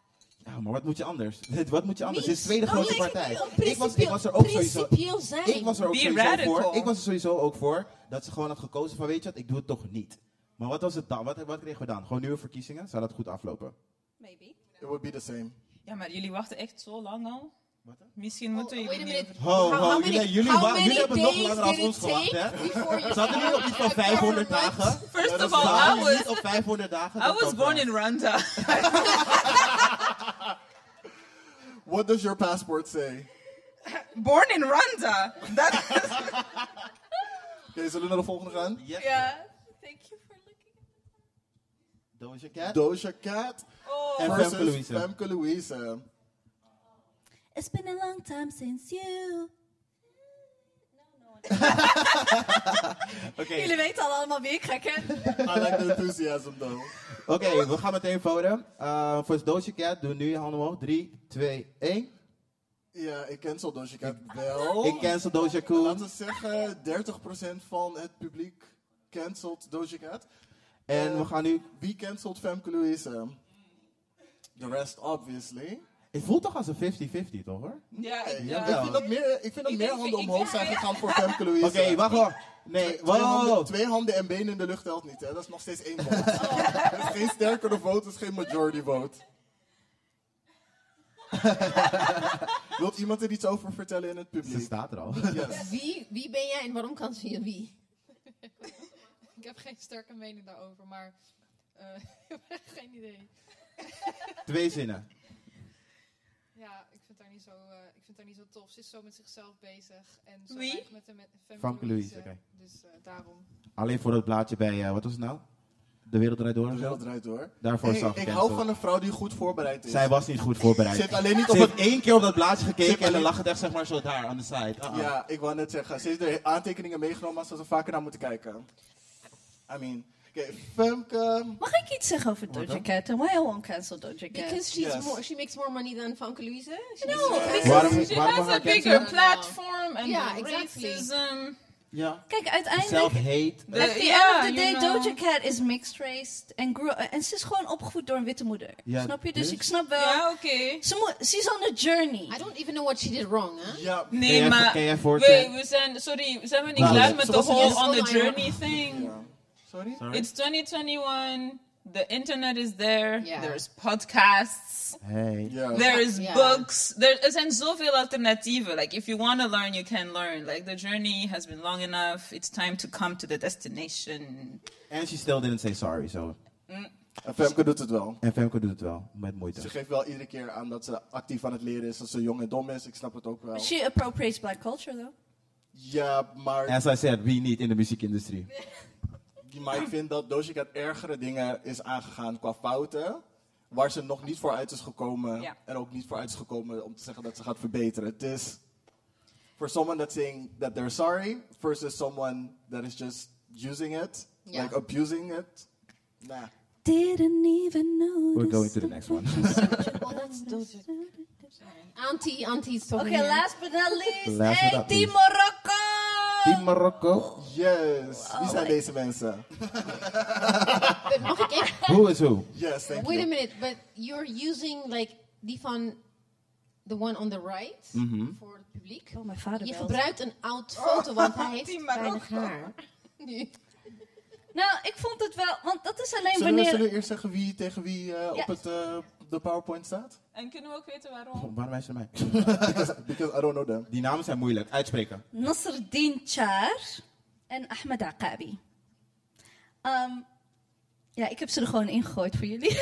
[SPEAKER 4] Nou, maar wat moet je anders? Wat moet je anders? Dit is de tweede
[SPEAKER 2] Nou,
[SPEAKER 4] grote
[SPEAKER 2] nee,
[SPEAKER 4] partij.
[SPEAKER 2] principieel-
[SPEAKER 4] Ik was, ik was er ook sowieso.
[SPEAKER 2] Principieel zijn.
[SPEAKER 4] Ik was er ook
[SPEAKER 5] Be
[SPEAKER 4] sowieso
[SPEAKER 5] radical.
[SPEAKER 4] voor. Ik was er sowieso ook voor dat ze gewoon had gekozen van weet je wat, ik doe het toch niet. Maar wat was het dan? Wat, wat kregen we dan? Gewoon nieuwe verkiezingen? Zou dat goed aflopen?
[SPEAKER 1] Maybe.
[SPEAKER 3] It would be the same.
[SPEAKER 5] Ja, maar jullie wachten echt zo lang al.
[SPEAKER 4] Wat dan?
[SPEAKER 5] Misschien moeten
[SPEAKER 2] Oh, wait a
[SPEAKER 5] jullie niet
[SPEAKER 2] minute.
[SPEAKER 5] over-
[SPEAKER 4] Ho, ho,
[SPEAKER 2] How- how
[SPEAKER 4] jullie,
[SPEAKER 2] many-
[SPEAKER 4] jullie,
[SPEAKER 2] how
[SPEAKER 4] wa-
[SPEAKER 2] many
[SPEAKER 4] jullie hebben nog
[SPEAKER 2] days
[SPEAKER 4] langer als
[SPEAKER 2] did
[SPEAKER 4] ons
[SPEAKER 2] it take
[SPEAKER 4] gewacht, hè?
[SPEAKER 2] before you
[SPEAKER 4] Ze hadden niet op iets van
[SPEAKER 2] had a
[SPEAKER 4] 500
[SPEAKER 2] government?
[SPEAKER 4] dagen.
[SPEAKER 5] First
[SPEAKER 4] Dat
[SPEAKER 5] of
[SPEAKER 4] is
[SPEAKER 5] all,
[SPEAKER 4] waar.
[SPEAKER 5] I was,
[SPEAKER 4] Niet op 500 dagen.
[SPEAKER 5] I was born in Rwanda.
[SPEAKER 3] What does your passport say?
[SPEAKER 5] born in Rwanda. Dat is...
[SPEAKER 3] Oké, zullen we naar de volgende gaan?
[SPEAKER 4] Yes.
[SPEAKER 1] Ja, thank you for looking.
[SPEAKER 4] Doja Cat.
[SPEAKER 3] Doja Cat
[SPEAKER 5] Oh.
[SPEAKER 4] En
[SPEAKER 3] versus
[SPEAKER 4] Femke Louise.
[SPEAKER 3] Femke Louise.
[SPEAKER 1] It's been a long time since you.
[SPEAKER 4] Oké.
[SPEAKER 1] Jullie weten al allemaal wie ik ga kennen.
[SPEAKER 3] I like the enthusiasm though.
[SPEAKER 4] Oké, we gaan meteen voten. Eh, voor Doja Cat doen we nu je handen omhoog. 3, 2, 1.
[SPEAKER 3] Ja, ik cancel Doja Cat wel.
[SPEAKER 4] Ik cancel Doja Cool.
[SPEAKER 3] Laten we zeggen, 30% van het publiek cancelt Doja Cat.
[SPEAKER 4] En we gaan nu...
[SPEAKER 3] Wie cancelt Femke Louise? The rest, obviously.
[SPEAKER 4] Het voelt toch als een 50-50, toch hoor?
[SPEAKER 5] Ja, ik-
[SPEAKER 3] Ja,
[SPEAKER 5] ja.
[SPEAKER 3] ik vind dat meer, ik vind dat
[SPEAKER 5] Ik
[SPEAKER 3] meer
[SPEAKER 5] denk-
[SPEAKER 3] handen
[SPEAKER 5] ik-
[SPEAKER 3] omhoog
[SPEAKER 5] ik-
[SPEAKER 3] zijn gegaan voor Femke Louise.
[SPEAKER 4] Oké, wacht hoor. Nee,
[SPEAKER 3] Twee handen,
[SPEAKER 4] wow.
[SPEAKER 3] twee handen en benen in de lucht telt niet, hè? Dat is nog steeds één vote.
[SPEAKER 5] Oh.
[SPEAKER 3] Dat is geen sterkere vote, dat is geen majority vote. Wilt iemand er iets over vertellen in het
[SPEAKER 4] Ze
[SPEAKER 3] publiek?
[SPEAKER 4] staat er al.
[SPEAKER 3] Yes.
[SPEAKER 2] Wie, wie ben jij en waarom kan ze je wie?
[SPEAKER 9] Ik heb geen sterke mening daarover, maar eh, ik heb echt geen idee.
[SPEAKER 4] Twee zinnen.
[SPEAKER 9] Ja, ik vind haar niet zo, eh, ik vind haar niet zo tof. Ze is zo met zichzelf bezig en zo
[SPEAKER 5] Wie?
[SPEAKER 9] weinig met de met Femke
[SPEAKER 4] Famke Louise,
[SPEAKER 9] Louise.
[SPEAKER 4] oké.
[SPEAKER 9] Dus eh, daarom.
[SPEAKER 4] Alleen voor het blaadje bij, eh, wat was het nou? De wereld draait door.
[SPEAKER 3] De
[SPEAKER 4] of zo?
[SPEAKER 3] wereld draait door.
[SPEAKER 4] Daarvoor
[SPEAKER 3] Hey,
[SPEAKER 4] is ze
[SPEAKER 3] ik
[SPEAKER 4] afgecanceld.
[SPEAKER 3] hou van een vrouw die goed voorbereid is.
[SPEAKER 4] Zij was niet goed voorbereid.
[SPEAKER 3] Zit alleen niet
[SPEAKER 4] Ze
[SPEAKER 3] op
[SPEAKER 4] heeft
[SPEAKER 3] het...
[SPEAKER 4] één keer op dat blaadje
[SPEAKER 3] Zit
[SPEAKER 4] gekeken en dan
[SPEAKER 3] alleen-
[SPEAKER 4] lag het echt zeg maar zo daar, aan de side. Ah, ah.
[SPEAKER 3] Ja, ik wou net zeggen. Ze heeft de aantekeningen meegenomen, maar ze had er vaker naar moeten kijken. I mean... Oké, Femke...
[SPEAKER 1] Mag ik iets zeggen over Doja
[SPEAKER 3] dan?
[SPEAKER 1] Cat? En why I won't cancel Doja Cat?
[SPEAKER 2] Because she's
[SPEAKER 3] Yes.
[SPEAKER 2] more, she makes more money than Famke Louise. She
[SPEAKER 5] No,
[SPEAKER 2] makes-
[SPEAKER 5] because
[SPEAKER 4] Waarom-
[SPEAKER 5] she
[SPEAKER 4] waarom
[SPEAKER 5] has
[SPEAKER 4] haar
[SPEAKER 5] a bigger
[SPEAKER 4] cancelen?
[SPEAKER 5] platform and
[SPEAKER 2] Ja,
[SPEAKER 5] the
[SPEAKER 2] exactly.
[SPEAKER 5] racism.
[SPEAKER 4] ja.
[SPEAKER 1] Kijk, uiteindelijk...
[SPEAKER 4] Self-hate.
[SPEAKER 5] De-
[SPEAKER 2] Eh,
[SPEAKER 1] At the
[SPEAKER 5] ja,
[SPEAKER 1] end of the day,
[SPEAKER 5] you know.
[SPEAKER 1] Doja Cat is mixed race. En, grew- en ze is gewoon opgevoed door een witte moeder.
[SPEAKER 4] Ja,
[SPEAKER 1] snap je? Dus,
[SPEAKER 4] dus?
[SPEAKER 1] ik snap wel...
[SPEAKER 5] Ja, oké.
[SPEAKER 1] Ze moet- she's on a journey.
[SPEAKER 2] I don't even know what she did wrong, hè?
[SPEAKER 3] Ja,
[SPEAKER 4] Ken
[SPEAKER 5] Nee,
[SPEAKER 4] jij-
[SPEAKER 5] maar
[SPEAKER 4] ken jij
[SPEAKER 5] we,
[SPEAKER 4] voorstellen?
[SPEAKER 5] uh, we zijn, sorry, zijn we niet
[SPEAKER 4] Nou,
[SPEAKER 5] klaar
[SPEAKER 4] ze-
[SPEAKER 5] met
[SPEAKER 3] ze
[SPEAKER 5] de
[SPEAKER 3] was
[SPEAKER 5] whole
[SPEAKER 2] eerst
[SPEAKER 5] on the
[SPEAKER 2] online.
[SPEAKER 5] journey thing?
[SPEAKER 3] ja. Sorry?
[SPEAKER 4] Sorry.
[SPEAKER 5] It's 2021. The internet is there.
[SPEAKER 2] Ja.
[SPEAKER 5] There's podcasts.
[SPEAKER 4] Hey.
[SPEAKER 3] Ja.
[SPEAKER 5] There is
[SPEAKER 2] Ja.
[SPEAKER 5] books. There, er zijn zoveel alternatieven. Like if you want to learn, you can learn. Like the journey has been long enough. It's time to come to the destination.
[SPEAKER 4] And she still didn't say sorry, so.
[SPEAKER 3] En Femke doet het wel.
[SPEAKER 4] En Femke doet het wel, met
[SPEAKER 3] Ze
[SPEAKER 4] moeite.
[SPEAKER 3] geeft wel iedere keer aan dat ze actief aan het leren is, dat ze jong en dom is. Ik snap het ook wel.
[SPEAKER 1] She appropriates black culture, though.
[SPEAKER 3] Ja, maar,
[SPEAKER 4] As I said, we niet in de muziekindustrie.
[SPEAKER 3] maar ik vind dat Doja Cat ergere dingen is aangegaan qua fouten. Waar ze nog niet voor uit is gekomen.
[SPEAKER 5] Ja.
[SPEAKER 3] En ook niet voor uit is gekomen om te zeggen dat ze gaat verbeteren. Het is for someone that's saying that they're sorry versus someone that is just using it.
[SPEAKER 2] Ja.
[SPEAKER 3] Like abusing it. Nah.
[SPEAKER 1] Didn't even know.
[SPEAKER 4] We're going to the next one.
[SPEAKER 2] Well, that's Doja. Auntie, auntie's talking
[SPEAKER 1] Okay,
[SPEAKER 2] here.
[SPEAKER 1] last but not least,
[SPEAKER 4] Last but
[SPEAKER 1] hey,
[SPEAKER 4] not
[SPEAKER 1] Team
[SPEAKER 4] least.
[SPEAKER 1] Morocco!
[SPEAKER 4] Team Marokko.
[SPEAKER 3] Yes. Wie zijn
[SPEAKER 1] my-
[SPEAKER 3] deze mensen?
[SPEAKER 2] Mag ik echt-
[SPEAKER 4] Who is who?
[SPEAKER 3] Yes, thank
[SPEAKER 2] Wait a
[SPEAKER 3] you.
[SPEAKER 2] minute, but you're using like die van the one on the right
[SPEAKER 4] Mm-hmm.
[SPEAKER 2] voor het publiek.
[SPEAKER 1] Oh, mijn vader
[SPEAKER 2] Je
[SPEAKER 1] belt.
[SPEAKER 2] gebruikt een oud foto, want hij heeft
[SPEAKER 5] die
[SPEAKER 2] weinig
[SPEAKER 5] Marokko.
[SPEAKER 2] haar. Nu.
[SPEAKER 1] Nou, ik vond het wel, want dat is alleen
[SPEAKER 3] Zullen we,
[SPEAKER 1] wanneer...
[SPEAKER 3] zullen we eerst zeggen wie tegen wie eh,
[SPEAKER 1] Ja.
[SPEAKER 3] op het, eh, de PowerPoint staat?
[SPEAKER 5] En kunnen we ook weten waarom?
[SPEAKER 4] Waarom wijst je mij?
[SPEAKER 3] Because I don't know them.
[SPEAKER 4] Die namen zijn moeilijk. Uitspreken.
[SPEAKER 1] Nasreddin Char en Ahmed Akabi. Ehm, ja, ik heb ze er gewoon ingegooid voor jullie.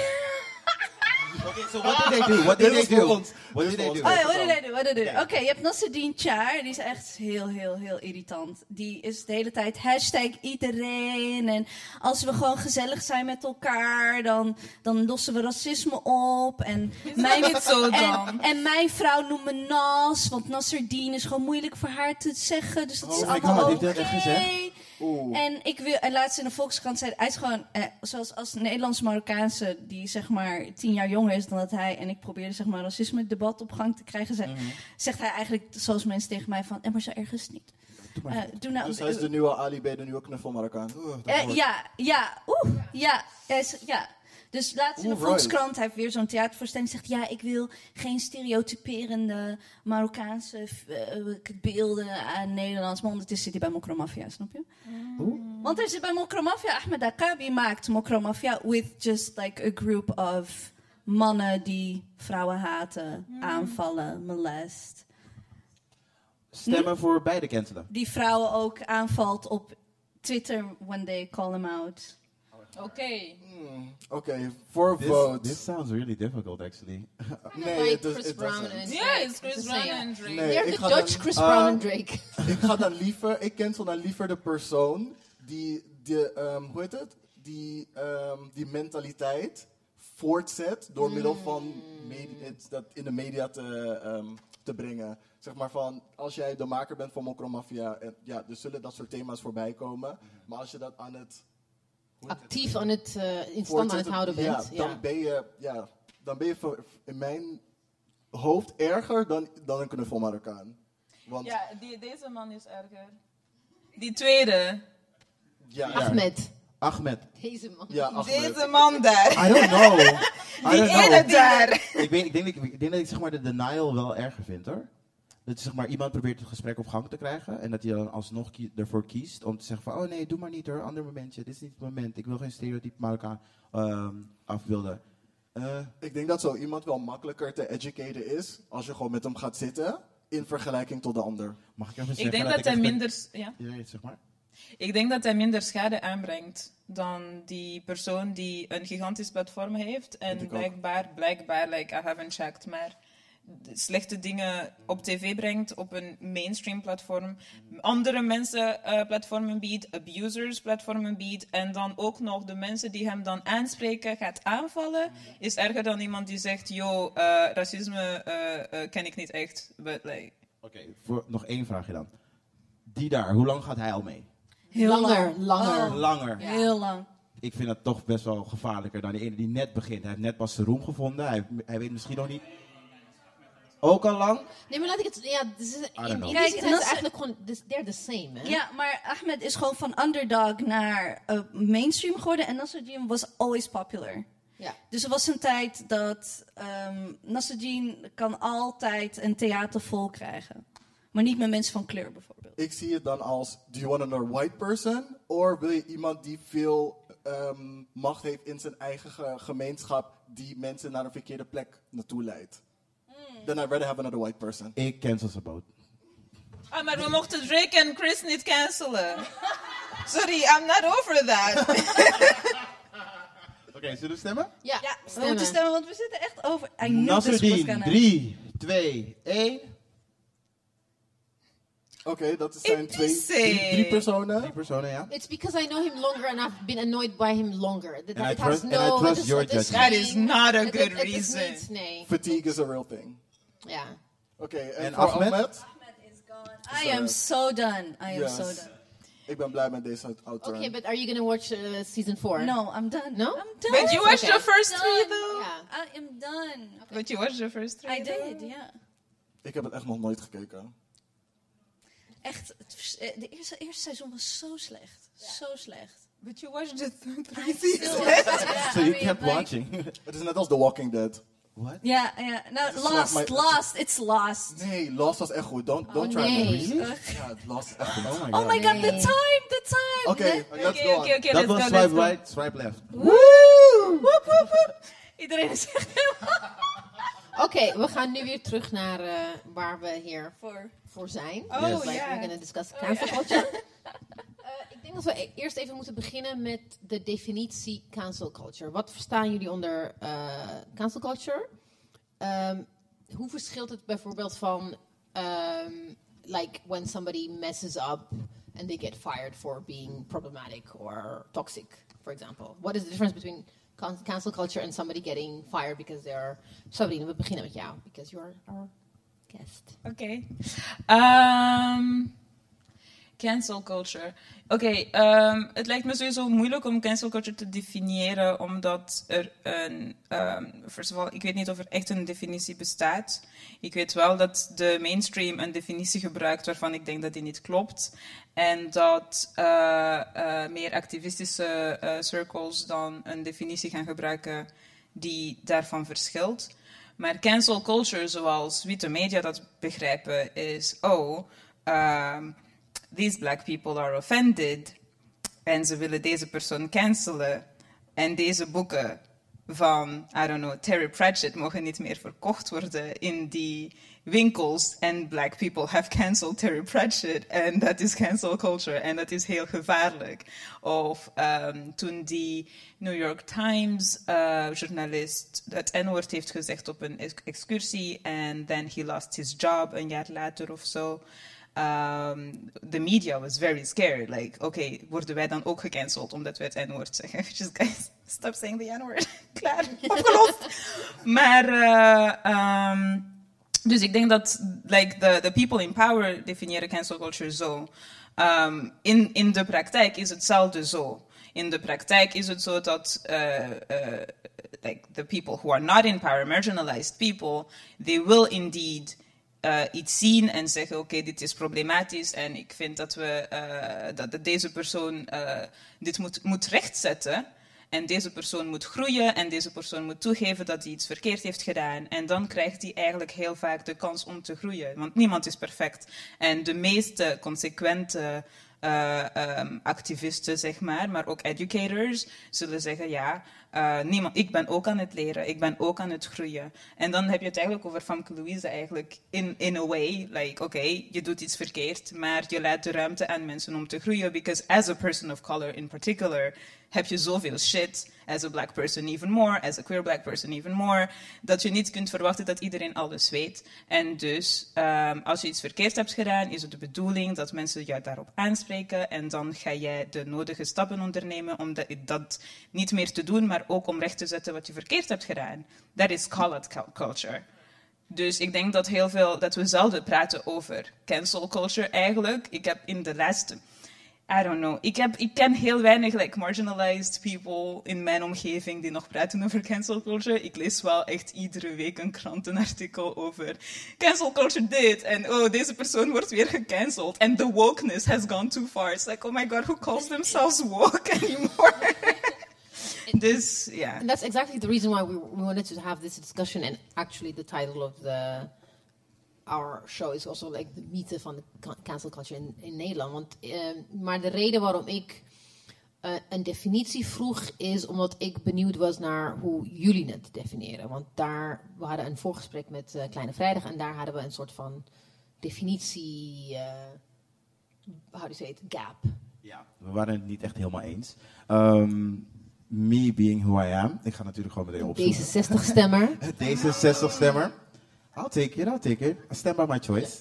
[SPEAKER 4] Oké, so what did they do? What did
[SPEAKER 3] Dit is
[SPEAKER 4] they do?
[SPEAKER 3] voor ons.
[SPEAKER 4] What
[SPEAKER 3] Dit
[SPEAKER 4] did
[SPEAKER 3] is
[SPEAKER 4] they
[SPEAKER 3] voor
[SPEAKER 4] do?
[SPEAKER 1] Oh
[SPEAKER 3] ons.
[SPEAKER 1] ja, wat did I do? What did I do?
[SPEAKER 4] Ja.
[SPEAKER 1] Oké, je hebt Nasreddin Char. Die is echt heel, heel, heel irritant. Die is de hele tijd hashtag iedereen. En als we gewoon gezellig zijn met elkaar, dan, dan lossen we racisme op. En mijn,
[SPEAKER 5] niet zo
[SPEAKER 1] en,
[SPEAKER 5] dom?
[SPEAKER 1] en mijn vrouw noemt me Nas, want Nasreddin is gewoon moeilijk voor haar te zeggen. Dus dat is
[SPEAKER 4] Oh my
[SPEAKER 1] allemaal
[SPEAKER 4] God,
[SPEAKER 1] oké.
[SPEAKER 4] heeft hij dat echt gezegd?
[SPEAKER 1] En ik wil, en laatst in de Volkskrant zei hij is gewoon, eh, zoals als een Nederlands-Marokkaanse die zeg maar tien jaar jonger is dan dat hij, en ik probeerde zeg maar racisme-debat op gang te krijgen, zei,
[SPEAKER 4] Mhm.
[SPEAKER 1] zegt hij eigenlijk zoals mensen tegen mij van, eh, maar zo ergens niet. Doe, doe nou,
[SPEAKER 3] Dus hij is de nieuwe Ali bij de nieuwe knuffel Marokkaan.
[SPEAKER 1] eh, ja, ja, oeh, ja, hij is- ja. Dus laatst in de
[SPEAKER 3] Alright.
[SPEAKER 1] Volkskrant heeft weer zo'n theatervoorstelling zegt... ja, ik wil geen stereotyperende Marokkaanse eh, eh, beelden aan Nederlands... maar ondertussen zit hij bij Mokromafia, snap je? Want er zit bij Mokromafia... Ahmed Akabi maakt Mokromafia with just like a group of mannen... die vrouwen haten, aanvallen, molest.
[SPEAKER 4] Stemmen voor beide cancelen.
[SPEAKER 1] Die vrouwen ook aanvalt op Twitter when they call them out.
[SPEAKER 5] Oké.
[SPEAKER 3] Hmm, Oké, voor vote.
[SPEAKER 4] this sounds really difficult, actually.
[SPEAKER 3] nee, het
[SPEAKER 2] like
[SPEAKER 3] is
[SPEAKER 2] Chris
[SPEAKER 3] het
[SPEAKER 2] Brown
[SPEAKER 3] doesn't.
[SPEAKER 2] en
[SPEAKER 5] Ja, is Chris
[SPEAKER 2] Brown
[SPEAKER 5] Brown en Drake.
[SPEAKER 3] Nee,
[SPEAKER 2] Weer
[SPEAKER 3] ik
[SPEAKER 2] de
[SPEAKER 3] ga
[SPEAKER 2] Dutch
[SPEAKER 3] dan-
[SPEAKER 2] Chris
[SPEAKER 3] Ah,
[SPEAKER 2] Brown en
[SPEAKER 5] Um,
[SPEAKER 2] Drake.
[SPEAKER 3] ik ga dan liever, ik cancel dan liever de persoon die, de, ehm, hoe heet het? Die, ehm, die mentaliteit voortzet door middel
[SPEAKER 2] Hmm.
[SPEAKER 3] van medi- het- dat in de media te, ehm, te brengen. Zeg maar van, als jij de maker bent van Mokromafia, en ja, er zullen dat soort thema's voorbij komen.
[SPEAKER 4] Mhm.
[SPEAKER 3] Maar als je dat aan het
[SPEAKER 2] Actief aan het, eh, in stand aan het
[SPEAKER 3] voortzetten-
[SPEAKER 2] houden
[SPEAKER 3] ja,
[SPEAKER 2] bent.
[SPEAKER 3] Dan ben je, ja, dan ben je voor- in mijn hoofd erger dan, dan een knuffel Marokkaan. Want, ja,
[SPEAKER 5] Ja, die, deze man is erger. Die tweede.
[SPEAKER 3] ja,
[SPEAKER 2] Ahmed.
[SPEAKER 4] Ahmed.
[SPEAKER 2] Deze man.
[SPEAKER 3] Ja, Ahmed.
[SPEAKER 5] Deze man daar.
[SPEAKER 4] I don't know. I don't know.
[SPEAKER 5] daar.
[SPEAKER 4] Ik, weet, ik, denk, dat ik, ik denk dat ik zeg maar, de denial wel erger vind, hoor. Dat zeg maar, iemand probeert het gesprek op gang te krijgen en dat hij dan alsnog kie- ervoor kiest om te zeggen van, oh nee, doe maar niet hoor, ander momentje, dit is niet het moment, ik wil geen stereotype Marokkaan ehm afbeelden. Eh,
[SPEAKER 3] Ik denk dat zo iemand wel makkelijker te educaten is als je gewoon met hem gaat zitten in vergelijking tot de ander.
[SPEAKER 4] mag ik even zeggen
[SPEAKER 5] Ik denk dat hij
[SPEAKER 4] echt een-
[SPEAKER 5] minder... s- Ja?
[SPEAKER 4] Ja, ja, zeg maar.
[SPEAKER 5] Ik denk dat hij minder schade aanbrengt dan die persoon die een gigantisch platform heeft. En
[SPEAKER 3] ik ook.
[SPEAKER 5] blijkbaar, blijkbaar, like, I haven't checked, maar de slechte dingen op tv brengt op een mainstream platform. Andere mensen eh, platformen biedt, abusers platformen biedt. En dan ook nog de mensen die hem dan aanspreken, gaat aanvallen. Is erger dan iemand die zegt, yo, eh, racisme eh, eh, ken ik niet echt. But, like,
[SPEAKER 4] Oké, voor- nog één vraagje dan. Die daar, hoe lang gaat hij al mee?
[SPEAKER 1] Heel
[SPEAKER 2] Langer,
[SPEAKER 1] lang.
[SPEAKER 2] langer.
[SPEAKER 1] Oh,
[SPEAKER 4] Langer.
[SPEAKER 1] Heel lang.
[SPEAKER 4] Ik vind dat toch best wel gevaarlijker dan die ene die net begint. Hij heeft net pas zijn roem gevonden, hij, hij weet misschien nog niet... Ook al lang?
[SPEAKER 2] Nee, maar laat ik het... Ja, dus in
[SPEAKER 4] know.
[SPEAKER 2] in die
[SPEAKER 1] Kijk,
[SPEAKER 2] zin
[SPEAKER 1] en
[SPEAKER 2] zijn
[SPEAKER 1] dat
[SPEAKER 2] ze
[SPEAKER 1] is-
[SPEAKER 2] eigenlijk gewoon... dus They're the same, hè?
[SPEAKER 1] Ja, maar Ahmed is gewoon van underdog naar eh, mainstream geworden. En Nasruddin was always popular.
[SPEAKER 2] Ja.
[SPEAKER 1] Dus er was een tijd dat ehm Nasruddin kan altijd een theater vol krijgen. Maar niet met mensen van kleur bijvoorbeeld.
[SPEAKER 3] Ik zie het dan als, do you want another white person? Of wil je iemand die veel ehm, macht heeft in zijn eigen ge- gemeenschap, die mensen naar een verkeerde plek naartoe leidt? Then I'd rather have another white person.
[SPEAKER 4] Ik cancel zijn boot.
[SPEAKER 5] Ah, maar we mochten Drake en Chris niet cancelen. Sorry, I'm not over that.
[SPEAKER 4] Oké, zullen we stemmen?
[SPEAKER 2] Ja,
[SPEAKER 1] We moeten stemmen, want we zitten echt over... I knew this was
[SPEAKER 4] Nasruddin,
[SPEAKER 1] gonna-
[SPEAKER 4] 3, 2, 1.
[SPEAKER 3] Oké, dat zijn twee,
[SPEAKER 5] Idrissi.
[SPEAKER 3] drie, drie personen.
[SPEAKER 4] Drie personen, ja.
[SPEAKER 2] It's because I know him longer and I've been annoyed by him longer. That,
[SPEAKER 4] And I
[SPEAKER 2] it has
[SPEAKER 4] trust- and
[SPEAKER 2] no,
[SPEAKER 4] I
[SPEAKER 2] het
[SPEAKER 4] trust
[SPEAKER 2] is-
[SPEAKER 4] your
[SPEAKER 2] het is
[SPEAKER 4] judgment.
[SPEAKER 5] That is
[SPEAKER 2] geen-
[SPEAKER 5] not a
[SPEAKER 2] het-
[SPEAKER 5] good
[SPEAKER 2] het- het is
[SPEAKER 5] reason.
[SPEAKER 2] niet, nee,
[SPEAKER 3] Fatigue is a real thing.
[SPEAKER 2] ja.
[SPEAKER 3] Oké, en,
[SPEAKER 4] En
[SPEAKER 3] voor
[SPEAKER 4] Ahmed?
[SPEAKER 3] Ahmed?
[SPEAKER 1] Ahmed is gone. I am so done. I am
[SPEAKER 3] Yes.
[SPEAKER 1] so done.
[SPEAKER 3] Ik ben blij met deze outturn.
[SPEAKER 2] Oké, but are you gonna watch eh, season 4?
[SPEAKER 1] No, I'm done.
[SPEAKER 2] No?
[SPEAKER 1] I'm done.
[SPEAKER 5] But you watched
[SPEAKER 2] Okay.
[SPEAKER 5] the first three
[SPEAKER 1] Done.
[SPEAKER 5] though.
[SPEAKER 2] Ja.
[SPEAKER 1] I am done.
[SPEAKER 5] But you watched the first three.
[SPEAKER 1] I
[SPEAKER 5] though.
[SPEAKER 1] did, ja.
[SPEAKER 3] Ik heb het echt nog nooit gekeken.
[SPEAKER 1] Echt, het vers- eh, de eerste, eerste seizoen was zo slecht. Zo slecht.
[SPEAKER 5] But you watched the th-
[SPEAKER 1] I
[SPEAKER 5] three
[SPEAKER 1] still
[SPEAKER 5] seasons.
[SPEAKER 1] watch it, yeah.
[SPEAKER 4] So
[SPEAKER 1] I
[SPEAKER 4] you
[SPEAKER 1] mean,
[SPEAKER 4] kept
[SPEAKER 1] like-
[SPEAKER 4] watching.
[SPEAKER 3] Het is net als The Walking Dead.
[SPEAKER 4] What?
[SPEAKER 1] Ja, ja. Nou,
[SPEAKER 3] is
[SPEAKER 1] Lost,
[SPEAKER 3] like my-
[SPEAKER 1] Lost, it's Lost.
[SPEAKER 3] Nee, Lost was echt goed. Don't, don't try
[SPEAKER 2] nee.
[SPEAKER 3] me.
[SPEAKER 2] Really?
[SPEAKER 3] Ja, Lost was echt goed.
[SPEAKER 4] Oh my
[SPEAKER 1] Oh
[SPEAKER 4] god.
[SPEAKER 1] my god, the time, the time.
[SPEAKER 3] Oké,
[SPEAKER 1] Nee.
[SPEAKER 3] let's
[SPEAKER 5] Oké,
[SPEAKER 3] go
[SPEAKER 5] oké,
[SPEAKER 3] on.
[SPEAKER 5] oké,
[SPEAKER 4] Dat
[SPEAKER 5] let's
[SPEAKER 4] was
[SPEAKER 5] go,
[SPEAKER 4] swipe
[SPEAKER 5] let's go.
[SPEAKER 4] right, swipe left.
[SPEAKER 5] Woep, woep, woep.
[SPEAKER 1] Iedereen is echt helemaal
[SPEAKER 2] Oké, we gaan nu weer terug naar eh, waar we hier
[SPEAKER 1] voor.
[SPEAKER 2] voor zijn.
[SPEAKER 5] Oh,
[SPEAKER 2] Dus, like,
[SPEAKER 5] ja.
[SPEAKER 2] We're gonna discuss cancel culture. Eh, ik denk dat we e- eerst even moeten beginnen met de definitie cancel culture. Wat verstaan jullie onder eh, cancel culture? Ehm, hoe verschilt het bijvoorbeeld van ehm, like when somebody messes up and they get fired for being problematic or toxic, for example? What is the difference between can- cancel culture and somebody getting fired because they're Sabrina, we beginnen met jou, because you're our guest.
[SPEAKER 5] Oké. Ehm, Cancel culture. Oké, ehm, het lijkt me sowieso moeilijk om cancel culture te definiëren, omdat er een. ehm first of all, ik weet niet of er echt een definitie bestaat. Ik weet wel dat de mainstream een definitie gebruikt waarvan ik denk dat die niet klopt. En dat eh, eh, meer activistische eh, circles dan een definitie gaan gebruiken die daarvan verschilt. Maar cancel culture, zoals witte media dat begrijpen, is: oh, ehm, these black people are offended. En ze willen deze persoon cancelen. En deze boeken van, I don't know, Terry Pratchett mogen niet meer verkocht worden in die winkels. En black people have cancelled Terry Pratchett. En dat is cancel culture. En dat is heel gevaarlijk. Of ehm, toen die New York Times eh, journalist het N-woord heeft gezegd op een ex- excursie. En then he lost his job een jaar later of zo. Um, the media was very scared. Like, oké, worden wij dan ook gecanceld omdat we het N-woord zeggen? Just guys, stop saying the N-word. Klaar, opgelost. maar, eh, ehm, dus ik denk dat like, the, the people in power definiëren cancel culture zo. Ehm, in, in de praktijk is hetzelfde zo. In de praktijk is het zo dat eh, eh, like, the people who are not in power, marginalized people, they will indeed eh, iets zien en zeggen: Oké, dit is problematisch en ik vind dat, we, eh, dat, dat deze persoon eh, dit moet, moet rechtzetten. En deze persoon moet groeien en deze persoon moet toegeven dat hij iets verkeerd heeft gedaan. En dan krijgt hij eigenlijk heel vaak de kans om te groeien, want niemand is perfect. En de meeste consequente eh, ehm, activisten, zeg maar, maar ook educators, zullen zeggen: Ja, eh, niemand, ik ben ook aan het leren, ik ben ook aan het groeien. En dan heb je het eigenlijk over Famke Louise, eigenlijk in, in a way. Like, oké, je doet iets verkeerd, maar je laat de ruimte aan mensen om te groeien. Because as a person of color in particular, heb je zoveel shit. As a black person even more, as a queer black person even more. Dat je niet kunt verwachten dat iedereen alles weet. En dus, ehm, als je iets verkeerd hebt gedaan, is het de bedoeling dat mensen jou daarop aanspreken. En dan ga jij de nodige stappen ondernemen om dat, dat niet meer te doen, maar ook om recht te zetten wat je verkeerd hebt gedaan. Dat is call-out cul- culture. Dus ik denk dat heel veel, dat we zelden praten over cancel culture eigenlijk. Ik heb in de laatste, I don't know, ik, heb, ik ken heel weinig like, marginalized people in mijn omgeving die nog praten over cancel culture. Ik lees wel echt iedere week een krantenartikel over cancel culture dit en oh, deze persoon wordt weer gecanceld en the wokeness has gone too far. It's like, oh my god, who calls themselves woke anymore? dus ja.
[SPEAKER 2] And that's exactly the reason why we, we wanted to have this discussion. And actually, the title of the our show is also like de mythe van de can- cancel culture in, in Nederland. Want, ehm, maar de reden waarom ik eh, een definitie vroeg is omdat ik benieuwd was naar hoe jullie het definiëren. Want daar, we hadden een voorgesprek met eh, Kleine Vrijdag en daar hadden we een soort van definitie, eh how do you say it, gap.
[SPEAKER 4] Ja, we waren het niet echt helemaal eens. Ehm, me being who I am. Ik ga natuurlijk gewoon meteen opzoeken.
[SPEAKER 2] Deze 60 stemmer.
[SPEAKER 4] Deze 60 stemmer. I'll take it, I'll take it. I stand by my choice.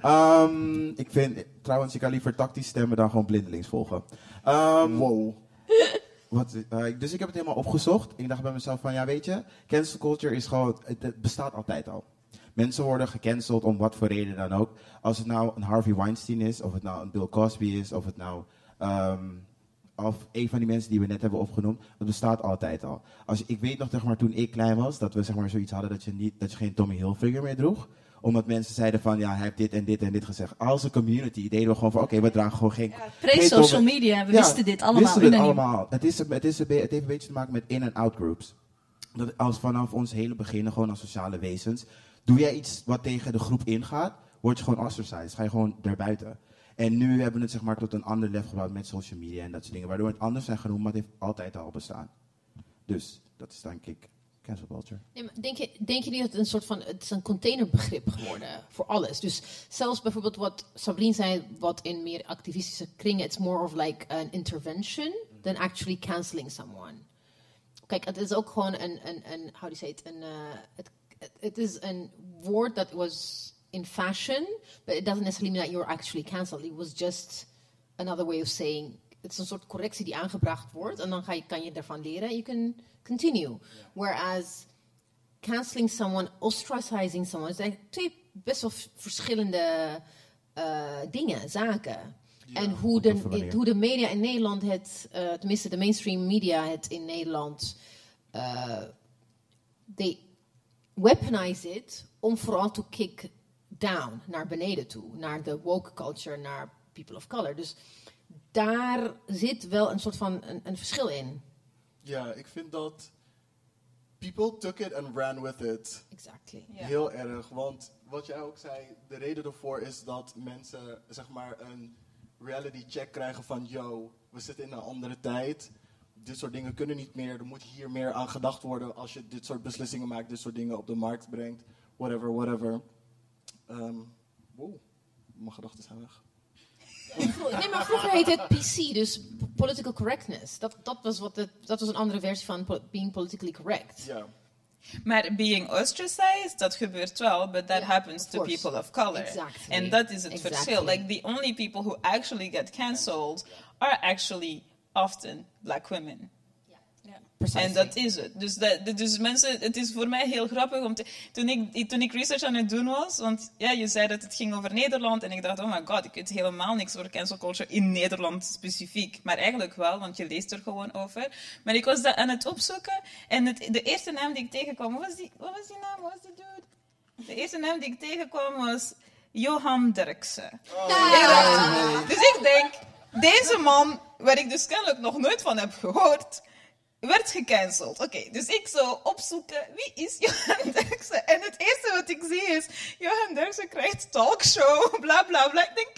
[SPEAKER 4] Ehm, ik vind, trouwens, je kan liever tactisch stemmen dan gewoon blindelings volgen. Ehm, Wat, eh, dus ik heb het helemaal opgezocht. Ik dacht bij mezelf van, ja weet je, cancel culture is gewoon, het, het bestaat altijd al. Mensen worden gecanceld om wat voor reden dan ook. Als het nou een Harvey Weinstein is, of het nou een Bill Cosby is, of het nou ehm, of een van die mensen die we net hebben opgenoemd, dat bestaat altijd al. Als, ik weet nog, zeg maar, toen ik klein was, dat we zeg maar, zoiets hadden dat je, niet, dat je geen Tommy Hilfiger meer droeg. Omdat mensen zeiden van, ja, hij heeft dit en dit en dit gezegd. Als een community deden we gewoon van, oké, we dragen gewoon geen... geen Tommy-
[SPEAKER 1] Pre-social media, we
[SPEAKER 4] Ja,
[SPEAKER 1] wisten dit allemaal.
[SPEAKER 4] wisten we het
[SPEAKER 1] unaniem.
[SPEAKER 4] allemaal. Het, is, een- het, is, een be- het heeft een beetje te maken met in- en out-groups. Dat als vanaf ons hele begin, gewoon als sociale wezens, doe jij iets wat tegen de groep ingaat, word je gewoon ostracized. Ga je gewoon daarbuiten. En nu hebben we het zeg maar tot een ander level gebouwd met social media en dat soort dingen. Waardoor het anders zijn genoemd, maar het heeft altijd al bestaan. Dus dat is denk ik cancel culture.
[SPEAKER 2] Nee, maar denk, je, denk je niet dat het een soort van het is een containerbegrip geworden voor alles? Dus zelfs bijvoorbeeld wat Sabrine zei, wat in meer activistische kringen, it's more of like an intervention than actually canceling someone. Kijk, het is ook gewoon een, een, een how do you say it, een, eh, het, het- het is een woord dat was in fashion, but it doesn't necessarily mean that you're actually cancelled. It was just another way of saying, het is een soort correctie die aangebracht wordt en dan ga je, kan je daarvan leren en you can continue. Whereas canceling someone, ostracizing someone. Het zijn twee best wel v- verschillende eh, dingen, zaken. En hoe de,
[SPEAKER 4] op een manier.
[SPEAKER 2] hoe de media in Nederland het, eh, tenminste de mainstream media het in Nederland, eh they weaponize it om vooral to kick down, naar beneden toe, naar de woke culture, naar people of color. Dus daar zit wel een soort van een, een verschil in.
[SPEAKER 3] Ja, ik vind dat people took it and ran with it.
[SPEAKER 2] Exactly.
[SPEAKER 5] Ja.
[SPEAKER 3] Heel erg, want wat jij ook zei, de reden daarvoor is dat mensen zeg maar een reality check krijgen van yo, we zitten in een andere tijd. Dit soort dingen kunnen niet meer. Er moet hier meer aan gedacht worden als je dit soort beslissingen maakt, dit soort dingen op de markt brengt. Whatever, whatever. Ehm wow, mijn gedachten zijn weg.
[SPEAKER 2] Nee, maar vroeger heette het PC, dus political correctness. Dat, dat, was, wat het, dat was een andere versie van po- being politically correct.
[SPEAKER 3] Ja,
[SPEAKER 5] Maar being ostracized, dat gebeurt wel, but that
[SPEAKER 2] Ja,
[SPEAKER 5] happens
[SPEAKER 2] of
[SPEAKER 5] to
[SPEAKER 2] course.
[SPEAKER 5] people of color.
[SPEAKER 2] Exactly.
[SPEAKER 5] And that is het
[SPEAKER 2] Exactly.
[SPEAKER 5] verschil. Like the only people who actually get cancelled are actually often black women. En dat is het. Dus, dat, dat- dus mensen, het is voor mij heel grappig om te. Toen ik, toen ik research aan het doen was, want ja, je zei dat het ging over Nederland. En ik dacht, oh my god, ik weet helemaal niks over cancel culture in Nederland specifiek. Maar eigenlijk wel, want je leest er gewoon over. Maar ik was dat aan het opzoeken. En het, de eerste naam die ik tegenkwam, wat was die, wat was die naam? Wat was die dude? De eerste naam die ik tegenkwam was Johan Derksen. Ik dacht- Dus ik denk, deze man, waar ik dus kennelijk nog nooit van heb gehoord, werd gecanceld. Oké, dus ik zou opzoeken, wie is Johan Derksen? En het eerste wat ik zie is, Johan Derksen krijgt talkshow, bla bla bla. Ik denk,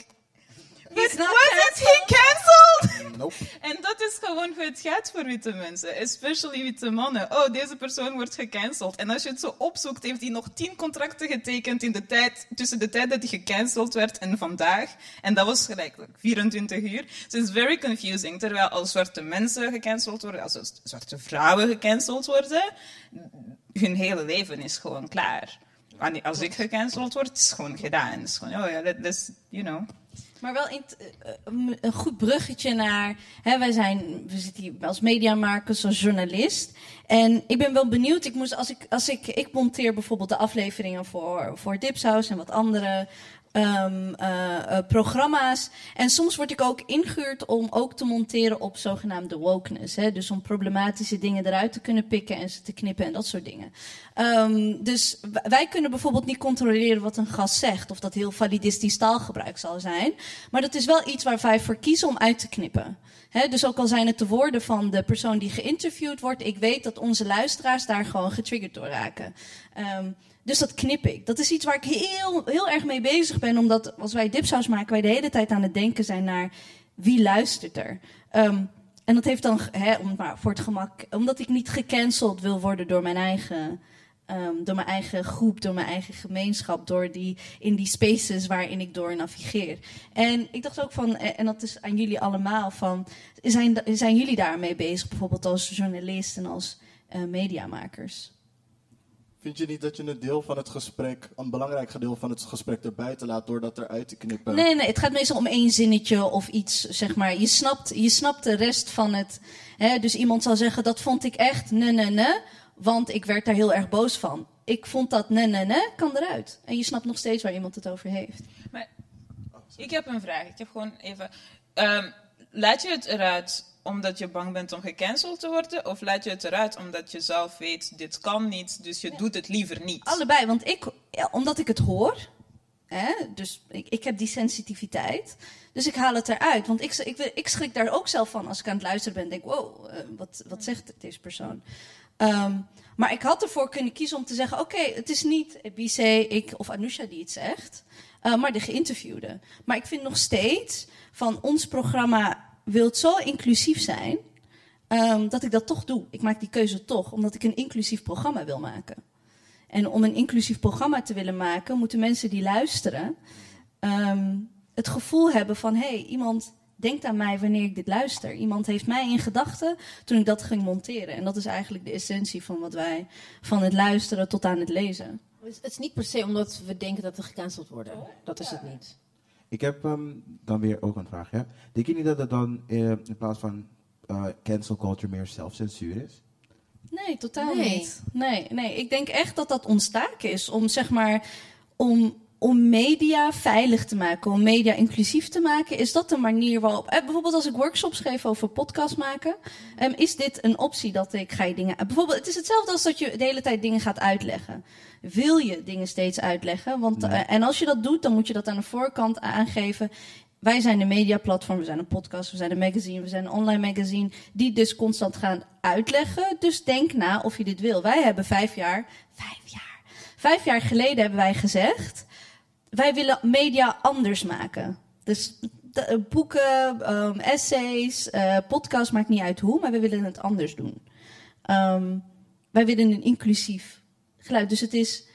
[SPEAKER 5] but
[SPEAKER 1] not
[SPEAKER 5] wasn't he cancelled?
[SPEAKER 4] Nope.
[SPEAKER 5] En dat is gewoon hoe het gaat voor witte mensen. Especially witte mannen. Oh, deze persoon wordt gecanceld. En als je het zo opzoekt, heeft hij nog tien contracten getekend in de tijd, tussen de tijd dat hij gecanceld werd en vandaag. En dat was gelijk like, 24 uur. Dus het is very confusing. Terwijl als zwarte mensen gecanceld worden, als z- zwarte vrouwen gecanceld worden, hun hele leven is gewoon klaar. Wanneer- Als ik gecanceld word, is het gewoon gedaan. Het is gewoon, oh ja, dat dat is, you know.
[SPEAKER 1] Maar wel in t- eh, eh, m- een goed bruggetje naar. Hè, wij zijn, we zitten hier als mediamakers, als journalist. En ik ben wel benieuwd. Ik moest, als ik, als ik, ik monteer bijvoorbeeld de afleveringen voor, voor Dipsaus en wat andere ehm, eh, eh, programma's. En soms word ik ook ingehuurd om ook te monteren op zogenaamde wokeness. Hè? Dus om problematische dingen eruit te kunnen pikken en ze te knippen en dat soort dingen. Ehm, dus w- wij kunnen bijvoorbeeld niet controleren wat een gast zegt. Of dat heel validistisch taalgebruik zal zijn. Maar dat is wel iets waar wij voor kiezen om uit te knippen. Hè, dus ook al zijn het de woorden van de persoon die geïnterviewd wordt. Ik weet dat onze luisteraars daar gewoon getriggerd door raken. Ehm, dus dat knip ik. Dat is iets waar ik heel, heel erg mee bezig ben. Omdat als wij dipsaus maken, wij de hele tijd aan het denken zijn naar wie luistert er. Ehm, en dat heeft dan, ge- hè, om, het maar voor het gemak, omdat ik niet gecanceld wil worden door mijn eigen. ehm, door mijn eigen groep, door mijn eigen gemeenschap, door die, in die spaces waarin ik door navigeer. En ik dacht ook van, eh, en dat is aan jullie allemaal, van, zijn, zijn jullie daarmee bezig, bijvoorbeeld als journalist en als eh, mediamakers?
[SPEAKER 3] Vind je niet dat je een deel van het gesprek, een belangrijk gedeelte van het gesprek erbuiten laat door dat eruit te knippen?
[SPEAKER 1] Nee, nee, het gaat meestal om één zinnetje of iets, zeg maar. Je snapt, je snapt de rest van het. Hè? Dus iemand zal zeggen, dat vond ik echt nee, nee, nee, want ik werd daar heel erg boos van. Ik vond dat nee, nee, nee, kan eruit. En je snapt nog steeds waar iemand het over heeft.
[SPEAKER 5] Ik heb een vraag. Ik heb gewoon even. ehm, laat je het eruit omdat je bang bent om gecanceld te worden? Of laat je het eruit omdat je zelf weet, dit kan niet, dus je doet het liever niet?
[SPEAKER 1] Allebei, want ik, ja, omdat ik het hoor, hè, dus ik, ik heb die sensitiviteit, dus ik haal het eruit. Want ik, ik, ik schrik daar ook zelf van als ik aan het luisteren ben en denk, wow, eh, wat, wat zegt deze persoon? Ehm, maar ik had ervoor kunnen kiezen om te zeggen, oké, het is niet Bise, ik of Anusha die het zegt, eh, maar de geïnterviewde. Maar ik vind nog steeds van ons programma wil het zo inclusief zijn, ehm, dat ik dat toch doe. Ik maak die keuze toch, omdat ik een inclusief programma wil maken. En om een inclusief programma te willen maken, moeten mensen die luisteren ehm, het gevoel hebben van: hé, hey, iemand denkt aan mij wanneer ik dit luister. Iemand heeft mij in gedachten toen ik dat ging monteren. En dat is eigenlijk de essentie van wat wij van het luisteren tot aan het lezen.
[SPEAKER 2] Dus het is niet per se omdat we denken dat we gecanceld worden. Dat is het niet.
[SPEAKER 4] Ik heb ehm, dan weer ook een vraag. Ja? Denk je niet dat het dan eh, in plaats van eh, cancel culture meer zelfcensuur is?
[SPEAKER 1] Nee, totaal
[SPEAKER 2] Nee.
[SPEAKER 1] niet. Nee, nee, ik denk echt dat dat ontstaken is om zeg maar om om media veilig te maken, om media inclusief te maken? Is dat de manier waarop... eh, bijvoorbeeld als ik workshops geef over podcast maken, ehm, is dit een optie dat ik ga je dingen... eh, bijvoorbeeld, het is hetzelfde als dat je de hele tijd dingen gaat uitleggen. Wil je dingen steeds uitleggen? Want, eh, en als je dat doet, dan moet je dat aan de voorkant aangeven. Wij zijn een mediaplatform, we zijn een podcast, we zijn een magazine, we zijn een online magazine. Die dus constant gaan uitleggen. Dus denk na of je dit wil. Wij hebben vijf jaar, vijf jaar, vijf jaar geleden hebben wij gezegd wij willen media anders maken. Dus de- eh, boeken, ehm, essays, eh podcast, maakt niet uit hoe, maar we willen het anders doen. Ehm, wij willen een inclusief geluid. Dus het is.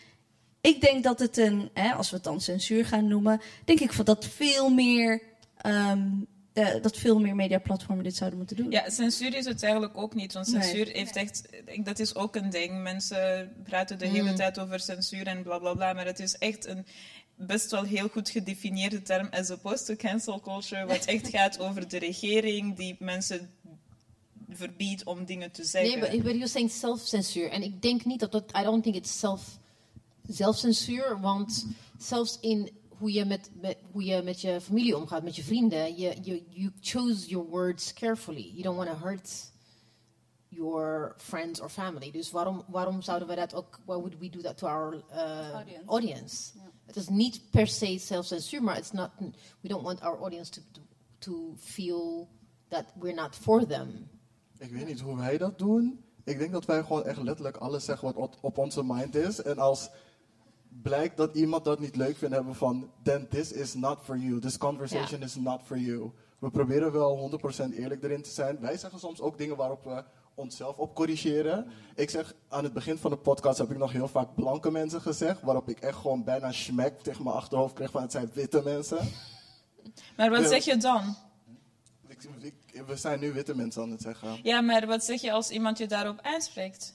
[SPEAKER 1] Ik denk dat het een, hè, als we het dan censuur gaan noemen, denk ik van dat veel meer. ehm, eh, dat veel meer mediaplatformen dit zouden moeten doen.
[SPEAKER 5] Ja, censuur is het eigenlijk ook niet. Want
[SPEAKER 1] Nee. Mm.
[SPEAKER 5] censuur heeft echt. ik- Dat is ook een ding. Mensen praten de hele tijd over censuur en bla bla bla. Maar het is echt een best wel heel goed gedefinieerde term. As opposed to cancel culture. Wat echt gaat over de regering die mensen verbiedt om dingen te
[SPEAKER 10] Nee,
[SPEAKER 5] zeggen.
[SPEAKER 10] but, but you're saying self-censuur. En ik denk niet dat dat... I don't think it's self, zelfcensuur. Want zelfs in hoe je met, met, hoe je met je familie omgaat, met je vrienden... Je, you, you chose your words carefully. You don't want to hurt your friends or family. Dus waarom, waarom zouden we dat ook... Why would we do that to our uh, audience? Het is niet per se zelfcensuur, maar it's not, we don't want our audience to, to, to feel that we're not for them.
[SPEAKER 3] Ik weet niet hoe wij dat doen. Ik denk dat wij gewoon echt letterlijk alles zeggen wat op- op onze mind is. En als blijkt dat iemand dat niet leuk vindt, hebben we van... Then this is not for you. This conversation is not for you. We proberen wel 100% eerlijk erin te zijn. Wij zeggen soms ook dingen waarop we onszelf op corrigeren. Ik zeg, aan het begin van de podcast heb ik nog heel vaak blanke mensen gezegd... waarop ik echt gewoon bijna smack tegen mijn achterhoofd kreeg van... het zijn witte mensen.
[SPEAKER 5] maar wat
[SPEAKER 3] Ja.
[SPEAKER 5] zeg je dan?
[SPEAKER 3] Ik- ik- we zijn nu witte mensen aan het zeggen.
[SPEAKER 5] Ja, maar wat zeg je als iemand je daarop aanspreekt?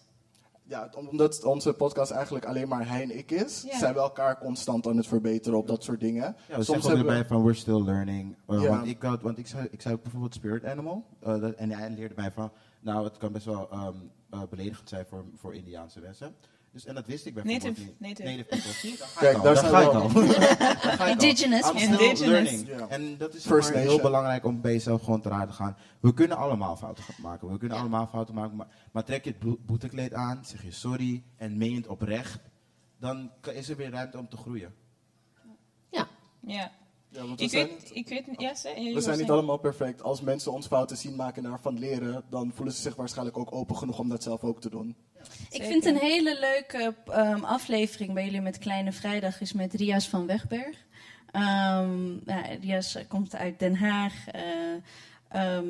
[SPEAKER 3] Ja, om- omdat onze podcast eigenlijk alleen maar hij en ik is,
[SPEAKER 5] Ja.
[SPEAKER 3] zijn we elkaar constant aan het verbeteren op dat soort dingen.
[SPEAKER 4] Ja, we zeggen ook erbij van we're still learning. Uh,
[SPEAKER 3] Ja.
[SPEAKER 4] Want, ik, had, want ik, zei, ik zei ook bijvoorbeeld Spirit Animal. eh, dat, en hij leerde mij van, nou het kan best wel ehm, eh, beledigend zijn voor, voor Indiaanse mensen. Dus, en dat wist ik bijvoorbeeld
[SPEAKER 5] Native-
[SPEAKER 4] niet.
[SPEAKER 5] native.
[SPEAKER 4] people. Zie je, daar ga
[SPEAKER 3] Kijk,
[SPEAKER 4] ik al.
[SPEAKER 3] daar
[SPEAKER 4] Daar
[SPEAKER 3] zijn
[SPEAKER 4] ga
[SPEAKER 3] we
[SPEAKER 4] ik
[SPEAKER 3] al.
[SPEAKER 4] al. Daar ga ik al.
[SPEAKER 1] Indigenous.
[SPEAKER 4] I'm
[SPEAKER 5] En
[SPEAKER 4] still
[SPEAKER 5] Indigenous.
[SPEAKER 4] learning.
[SPEAKER 3] Ja.
[SPEAKER 4] En dat is
[SPEAKER 3] First
[SPEAKER 4] maar heel
[SPEAKER 3] Nation.
[SPEAKER 4] belangrijk om bij jezelf gewoon te raden te gaan. We kunnen allemaal fouten gaan maken. We kunnen
[SPEAKER 10] Ja.
[SPEAKER 4] allemaal fouten maken. Maar, maar trek je het boe- boetekleed aan, zeg je sorry en meen het oprecht. Dan k- is er weer ruimte om te groeien.
[SPEAKER 5] Ja.
[SPEAKER 3] Ja, want we
[SPEAKER 5] Ik
[SPEAKER 3] zijn,
[SPEAKER 5] weet, ik weet niet. Ja, zeg-
[SPEAKER 3] we
[SPEAKER 5] je wil
[SPEAKER 3] zijn niet
[SPEAKER 5] zeggen.
[SPEAKER 3] allemaal perfect. Als mensen ons fouten zien maken en daarvan leren, dan voelen ze zich waarschijnlijk ook open genoeg om dat zelf ook te doen.
[SPEAKER 1] Ik
[SPEAKER 5] Zeker.
[SPEAKER 1] vind een hele leuke ehm, aflevering bij jullie met Kleine Vrijdag is met Rias van Wegberg. Ehm, ja, Rias eh, komt uit Den Haag. eh, ehm,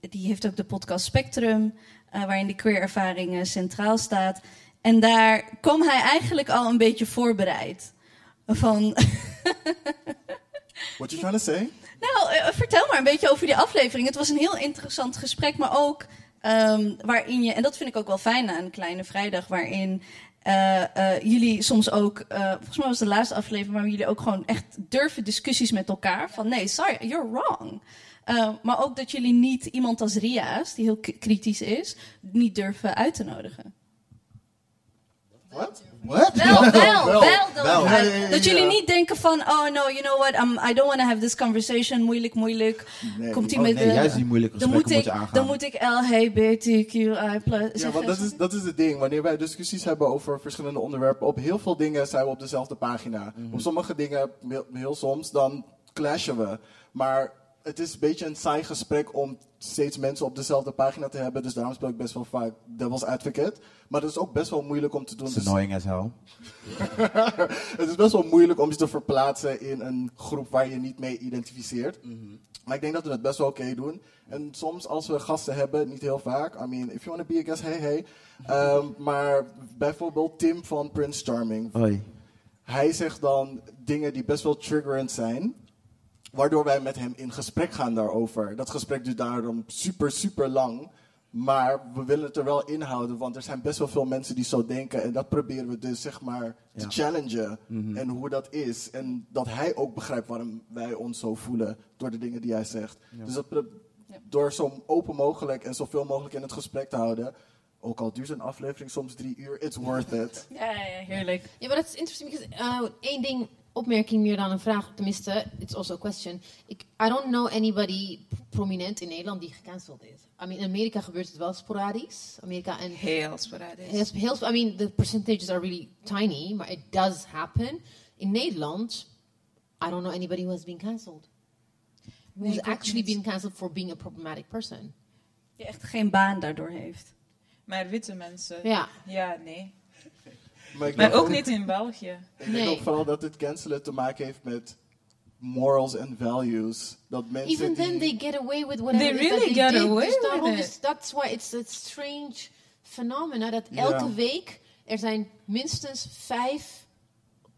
[SPEAKER 1] die heeft ook de podcast Spectrum, eh, waarin de queer-ervaring eh, centraal staat. En daar kwam hij eigenlijk al een beetje voorbereid. Van,
[SPEAKER 3] What you trying to say?
[SPEAKER 1] nou, eh, vertel maar een beetje over die aflevering. Het was een heel interessant gesprek, maar ook ehm, waarin je, en dat vind ik ook wel fijn aan Kleine Vrijdag, waarin eh, eh, jullie soms ook, eh, volgens mij was het de laatste aflevering, waar jullie ook gewoon echt durven discussies met elkaar. Van nee, sorry, you're wrong. Eh, maar ook dat jullie niet iemand als Ria's, die heel k- kritisch is, niet durven uit te nodigen.
[SPEAKER 3] What? What?
[SPEAKER 1] Wel, wel, wel. dat-
[SPEAKER 4] wel.
[SPEAKER 1] dat-
[SPEAKER 3] Ja, ja, ja, ja.
[SPEAKER 1] Dat jullie niet denken van, oh no, you know what, I'm, I don't want to have this conversation, moeilijk, moeilijk.
[SPEAKER 3] Nee.
[SPEAKER 1] Komt hij
[SPEAKER 4] Oh,
[SPEAKER 1] met
[SPEAKER 4] nee,
[SPEAKER 1] de-
[SPEAKER 4] juist die moeilijke
[SPEAKER 1] dan
[SPEAKER 4] gesprekken
[SPEAKER 1] moet, ik,
[SPEAKER 4] moet je aangaan.
[SPEAKER 1] dan moet ik LHBTQI+.
[SPEAKER 3] Ja, want dat is, dat is het ding. Wanneer wij discussies hebben over verschillende onderwerpen, op heel veel dingen zijn we op dezelfde pagina. Op sommige dingen, heel, heel soms, dan clashen we. Maar het is een beetje een saai gesprek om steeds mensen op dezelfde pagina te hebben. Dus daarom speel ik best wel vaak devil's advocate. Maar dat is ook best wel moeilijk om te doen. Dus
[SPEAKER 4] It's annoying as hell.
[SPEAKER 3] het is best wel moeilijk om je te verplaatsen in een groep waar je niet mee identificeert. Maar ik denk dat we het best wel oké doen. En soms als we gasten hebben, niet heel vaak. I mean, if you want to be a guest, hey hey. Ehm, maar bijvoorbeeld Tim van Prince Charming.
[SPEAKER 4] Oei.
[SPEAKER 3] Hij zegt dan dingen die best wel triggerend zijn. Waardoor wij met hem in gesprek gaan daarover. Dat gesprek duurt daarom super, super lang. Maar we willen het er wel inhouden, want er zijn best wel veel mensen die zo denken. En dat proberen we dus, zeg maar, te
[SPEAKER 4] Ja.
[SPEAKER 3] challengen. En hoe dat is. En dat hij ook begrijpt waarom wij ons zo voelen door de dingen die hij zegt. Dus dat pro- door zo open mogelijk en zoveel mogelijk in het gesprek te houden. Ook al duurt een aflevering soms drie uur, it's worth it.
[SPEAKER 1] Ja, ja, heerlijk.
[SPEAKER 10] Ja, maar dat is interessant. Because, uh, één ding
[SPEAKER 2] opmerking meer dan een vraag. Tenminste, it's also a question. Ik, I don't know anybody prominent in Nederland die gecanceld is. I mean, in Amerika gebeurt het wel sporadisch. Amerika en
[SPEAKER 5] Heel sporadisch.
[SPEAKER 2] Heel, sp- heel sp- I mean, the percentages are really tiny, maar it does happen. In Nederland, I don't know anybody who has been cancelled.
[SPEAKER 5] Nee,
[SPEAKER 2] Who's
[SPEAKER 5] ik ook
[SPEAKER 2] actually
[SPEAKER 5] niet.
[SPEAKER 2] been cancelled for being a problematic person.
[SPEAKER 1] Die echt geen baan daardoor heeft.
[SPEAKER 5] Maar witte mensen.
[SPEAKER 2] Ja.
[SPEAKER 5] Ja, nee.
[SPEAKER 3] Maar, ik
[SPEAKER 5] Maar
[SPEAKER 3] denk
[SPEAKER 5] ook niet in België.
[SPEAKER 3] Ik denk ook vooral dat het cancelen te maken heeft met morals en values. Dat mensen
[SPEAKER 2] Even
[SPEAKER 3] die-
[SPEAKER 2] then, they get away with whatever
[SPEAKER 5] They
[SPEAKER 2] it is
[SPEAKER 5] really
[SPEAKER 2] that
[SPEAKER 5] get
[SPEAKER 2] they did.
[SPEAKER 5] away
[SPEAKER 2] Dus
[SPEAKER 5] with
[SPEAKER 2] daarom
[SPEAKER 5] it.
[SPEAKER 2] is- that's why it's a strange phenomena dat elke
[SPEAKER 3] Ja.
[SPEAKER 2] week er zijn minstens vijf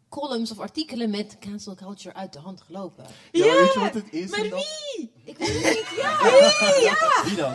[SPEAKER 2] columns of artikelen met cancel culture uit de hand gelopen.
[SPEAKER 3] Ja, maar weet je wat het is?
[SPEAKER 5] Maar
[SPEAKER 3] En dat-
[SPEAKER 5] wie?
[SPEAKER 2] Ik weet het niet. Ja.
[SPEAKER 3] Wie dan?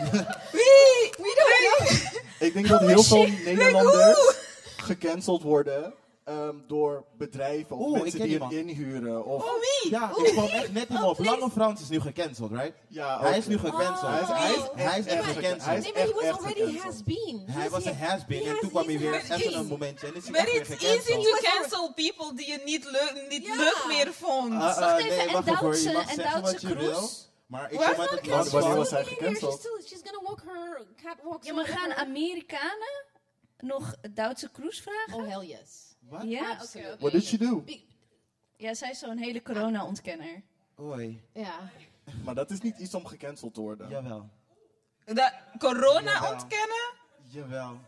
[SPEAKER 5] Wie? Wie dat?
[SPEAKER 3] Ik denk dat heel veel Nederlanders gecanceld worden ehm, door bedrijven of
[SPEAKER 4] Oeh, ik
[SPEAKER 3] mensen
[SPEAKER 4] ken
[SPEAKER 3] die
[SPEAKER 4] die
[SPEAKER 3] hen inhuren. Of,
[SPEAKER 4] Ja, ik kwam echt net niet op. Lange Frans is nu gecanceld, right?
[SPEAKER 3] ja,
[SPEAKER 4] Hij
[SPEAKER 3] ook-
[SPEAKER 4] is nu gecanceld.
[SPEAKER 3] Hij is- hij is
[SPEAKER 4] Hij is
[SPEAKER 3] echt
[SPEAKER 4] echt
[SPEAKER 3] gecanceld.
[SPEAKER 4] gecanceld.
[SPEAKER 3] Hij is
[SPEAKER 2] Ah, Nee, maar he
[SPEAKER 3] echt,
[SPEAKER 2] was
[SPEAKER 3] echt
[SPEAKER 2] already
[SPEAKER 3] gecanceld.
[SPEAKER 2] has been.
[SPEAKER 4] Hij was een has-been en
[SPEAKER 2] has-
[SPEAKER 4] toen kwam hij
[SPEAKER 2] he's
[SPEAKER 4] weer
[SPEAKER 2] already-
[SPEAKER 4] even een momentje. En is hij
[SPEAKER 5] Maar
[SPEAKER 4] echt weer
[SPEAKER 5] it's easy
[SPEAKER 4] gecanceld.
[SPEAKER 5] to cancel people die je niet, leuk, niet leuk meer vond.
[SPEAKER 4] Ah, ah,
[SPEAKER 2] Wacht even, en
[SPEAKER 4] wacht even, hoor. Je
[SPEAKER 2] Duitse-
[SPEAKER 4] mag
[SPEAKER 2] en
[SPEAKER 4] zeggen wat
[SPEAKER 2] Duitse
[SPEAKER 4] je
[SPEAKER 2] Kroes?
[SPEAKER 4] wil, Maar ik kom
[SPEAKER 5] Waar is
[SPEAKER 4] uit
[SPEAKER 5] dat
[SPEAKER 4] het
[SPEAKER 3] Want
[SPEAKER 4] land
[SPEAKER 3] wanneer
[SPEAKER 4] van-
[SPEAKER 3] was hij
[SPEAKER 2] She's,
[SPEAKER 3] gecanceld?
[SPEAKER 2] still, she's gonna walk her catwalk.
[SPEAKER 1] Ja, maar gaan
[SPEAKER 2] whatever.
[SPEAKER 1] Amerikanen nog Duitse cruise vragen?
[SPEAKER 2] Oh, hell yes.
[SPEAKER 4] Wat?
[SPEAKER 1] Ja.
[SPEAKER 11] Oké,
[SPEAKER 3] What did she do?
[SPEAKER 1] Ah, ja, zij is zo'n hele corona-ontkenner.
[SPEAKER 4] Oei.
[SPEAKER 2] Ja.
[SPEAKER 3] Maar dat is niet iets om gecanceld te worden.
[SPEAKER 4] Jawel.
[SPEAKER 5] Dat corona
[SPEAKER 4] Jawel.
[SPEAKER 5] ontkennen?
[SPEAKER 4] Jawel.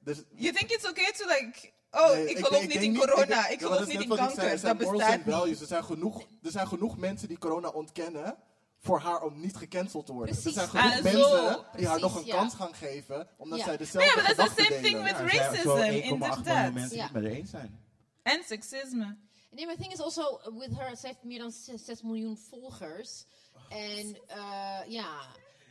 [SPEAKER 3] Dus
[SPEAKER 5] You think it's okay to like... Oh,
[SPEAKER 3] Nee,
[SPEAKER 5] ik geloof
[SPEAKER 3] denk-
[SPEAKER 5] niet
[SPEAKER 3] denk
[SPEAKER 5] in corona.
[SPEAKER 3] denk-
[SPEAKER 5] Ik
[SPEAKER 3] ja, maar
[SPEAKER 5] geloof
[SPEAKER 3] dat is
[SPEAKER 5] niet in
[SPEAKER 3] net wat ik zei,
[SPEAKER 5] kanker.
[SPEAKER 3] er zijn
[SPEAKER 5] Dat
[SPEAKER 3] morals
[SPEAKER 5] bestaat
[SPEAKER 3] en
[SPEAKER 5] niet.
[SPEAKER 3] values. Er zijn, genoeg, er zijn genoeg mensen die corona ontkennen voor haar om niet gecanceld te worden. Dus
[SPEAKER 2] Precies.
[SPEAKER 3] Er zijn genoeg
[SPEAKER 5] Ah,
[SPEAKER 3] mensen
[SPEAKER 5] zo.
[SPEAKER 3] die haar
[SPEAKER 2] Precies,
[SPEAKER 3] nog een
[SPEAKER 2] ja.
[SPEAKER 3] kans gaan geven, omdat
[SPEAKER 2] Ja.
[SPEAKER 3] zij
[SPEAKER 5] Maar
[SPEAKER 3] dezelfde
[SPEAKER 5] ja, maar dat is the
[SPEAKER 3] gedachten
[SPEAKER 5] same thing
[SPEAKER 3] delen.
[SPEAKER 5] with
[SPEAKER 4] Er zijn zo'n
[SPEAKER 5] racism,
[SPEAKER 4] 1,8 miljoen
[SPEAKER 5] inderdaad.
[SPEAKER 4] mensen die het met haar eens zijn.
[SPEAKER 5] En seksisme.
[SPEAKER 2] Nee, maar het ding is also, uh, with her, ze heeft meer dan 6 miljoen volgers. En eh,
[SPEAKER 4] Oh,
[SPEAKER 2] ja,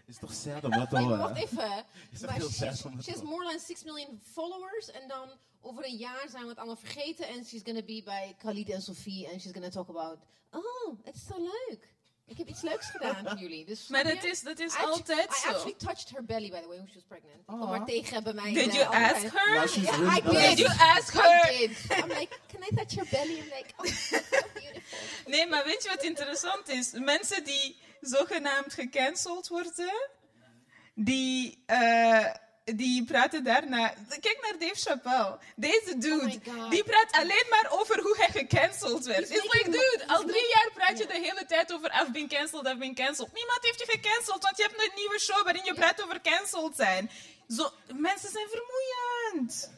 [SPEAKER 4] Is toch sad om dat te
[SPEAKER 2] Maar wacht
[SPEAKER 4] horen?
[SPEAKER 2] even.
[SPEAKER 4] Is
[SPEAKER 2] Maar
[SPEAKER 4] toch eh. heel
[SPEAKER 2] she,
[SPEAKER 4] sad om dat
[SPEAKER 2] she
[SPEAKER 4] te
[SPEAKER 2] has
[SPEAKER 4] horen?
[SPEAKER 2] more than 6 million followers. En dan over een jaar zijn we het allemaal vergeten. En she's gonna be bij Khalid en Sophie. En she's gonna talk about. Oh, het is zo leuk. Ik heb iets leuks gedaan voor jullie. Dus
[SPEAKER 5] Maar
[SPEAKER 2] snap
[SPEAKER 5] dat
[SPEAKER 2] je?
[SPEAKER 5] is, dat is
[SPEAKER 2] I actu-
[SPEAKER 5] altijd
[SPEAKER 2] I
[SPEAKER 5] zo.
[SPEAKER 2] actually touched her belly, by the way, when she was pregnant. Ik kwam
[SPEAKER 4] Aw.
[SPEAKER 2] haar tegen bij mij.
[SPEAKER 5] Did
[SPEAKER 2] bij
[SPEAKER 5] you
[SPEAKER 2] andere
[SPEAKER 5] ask
[SPEAKER 2] kant.
[SPEAKER 5] her?
[SPEAKER 3] Now she's
[SPEAKER 2] Yeah,
[SPEAKER 3] really
[SPEAKER 2] I
[SPEAKER 3] bad.
[SPEAKER 2] did.
[SPEAKER 5] Did you ask her?
[SPEAKER 2] I did. I'm like, can I touch your belly? I'm like, oh, it's so beautiful.
[SPEAKER 5] Nee, maar weet je wat interessant is? Mensen die zogenaamd gecanceld worden, die, eh, die praten daarna. Kijk naar Dave Chappelle. Deze dude,
[SPEAKER 2] Oh my God.
[SPEAKER 5] die praat alleen maar over hoe hij gecanceld werd.
[SPEAKER 2] He's
[SPEAKER 5] It's like,
[SPEAKER 2] making-
[SPEAKER 5] dude,
[SPEAKER 2] he's
[SPEAKER 5] al drie
[SPEAKER 2] making-
[SPEAKER 5] jaar praat je de hele tijd over I've been cancelled, I've been cancelled. Niemand heeft je gecanceld, want je hebt een nieuwe show waarin je praat over cancelled zijn. Zo, mensen zijn vermoeiend.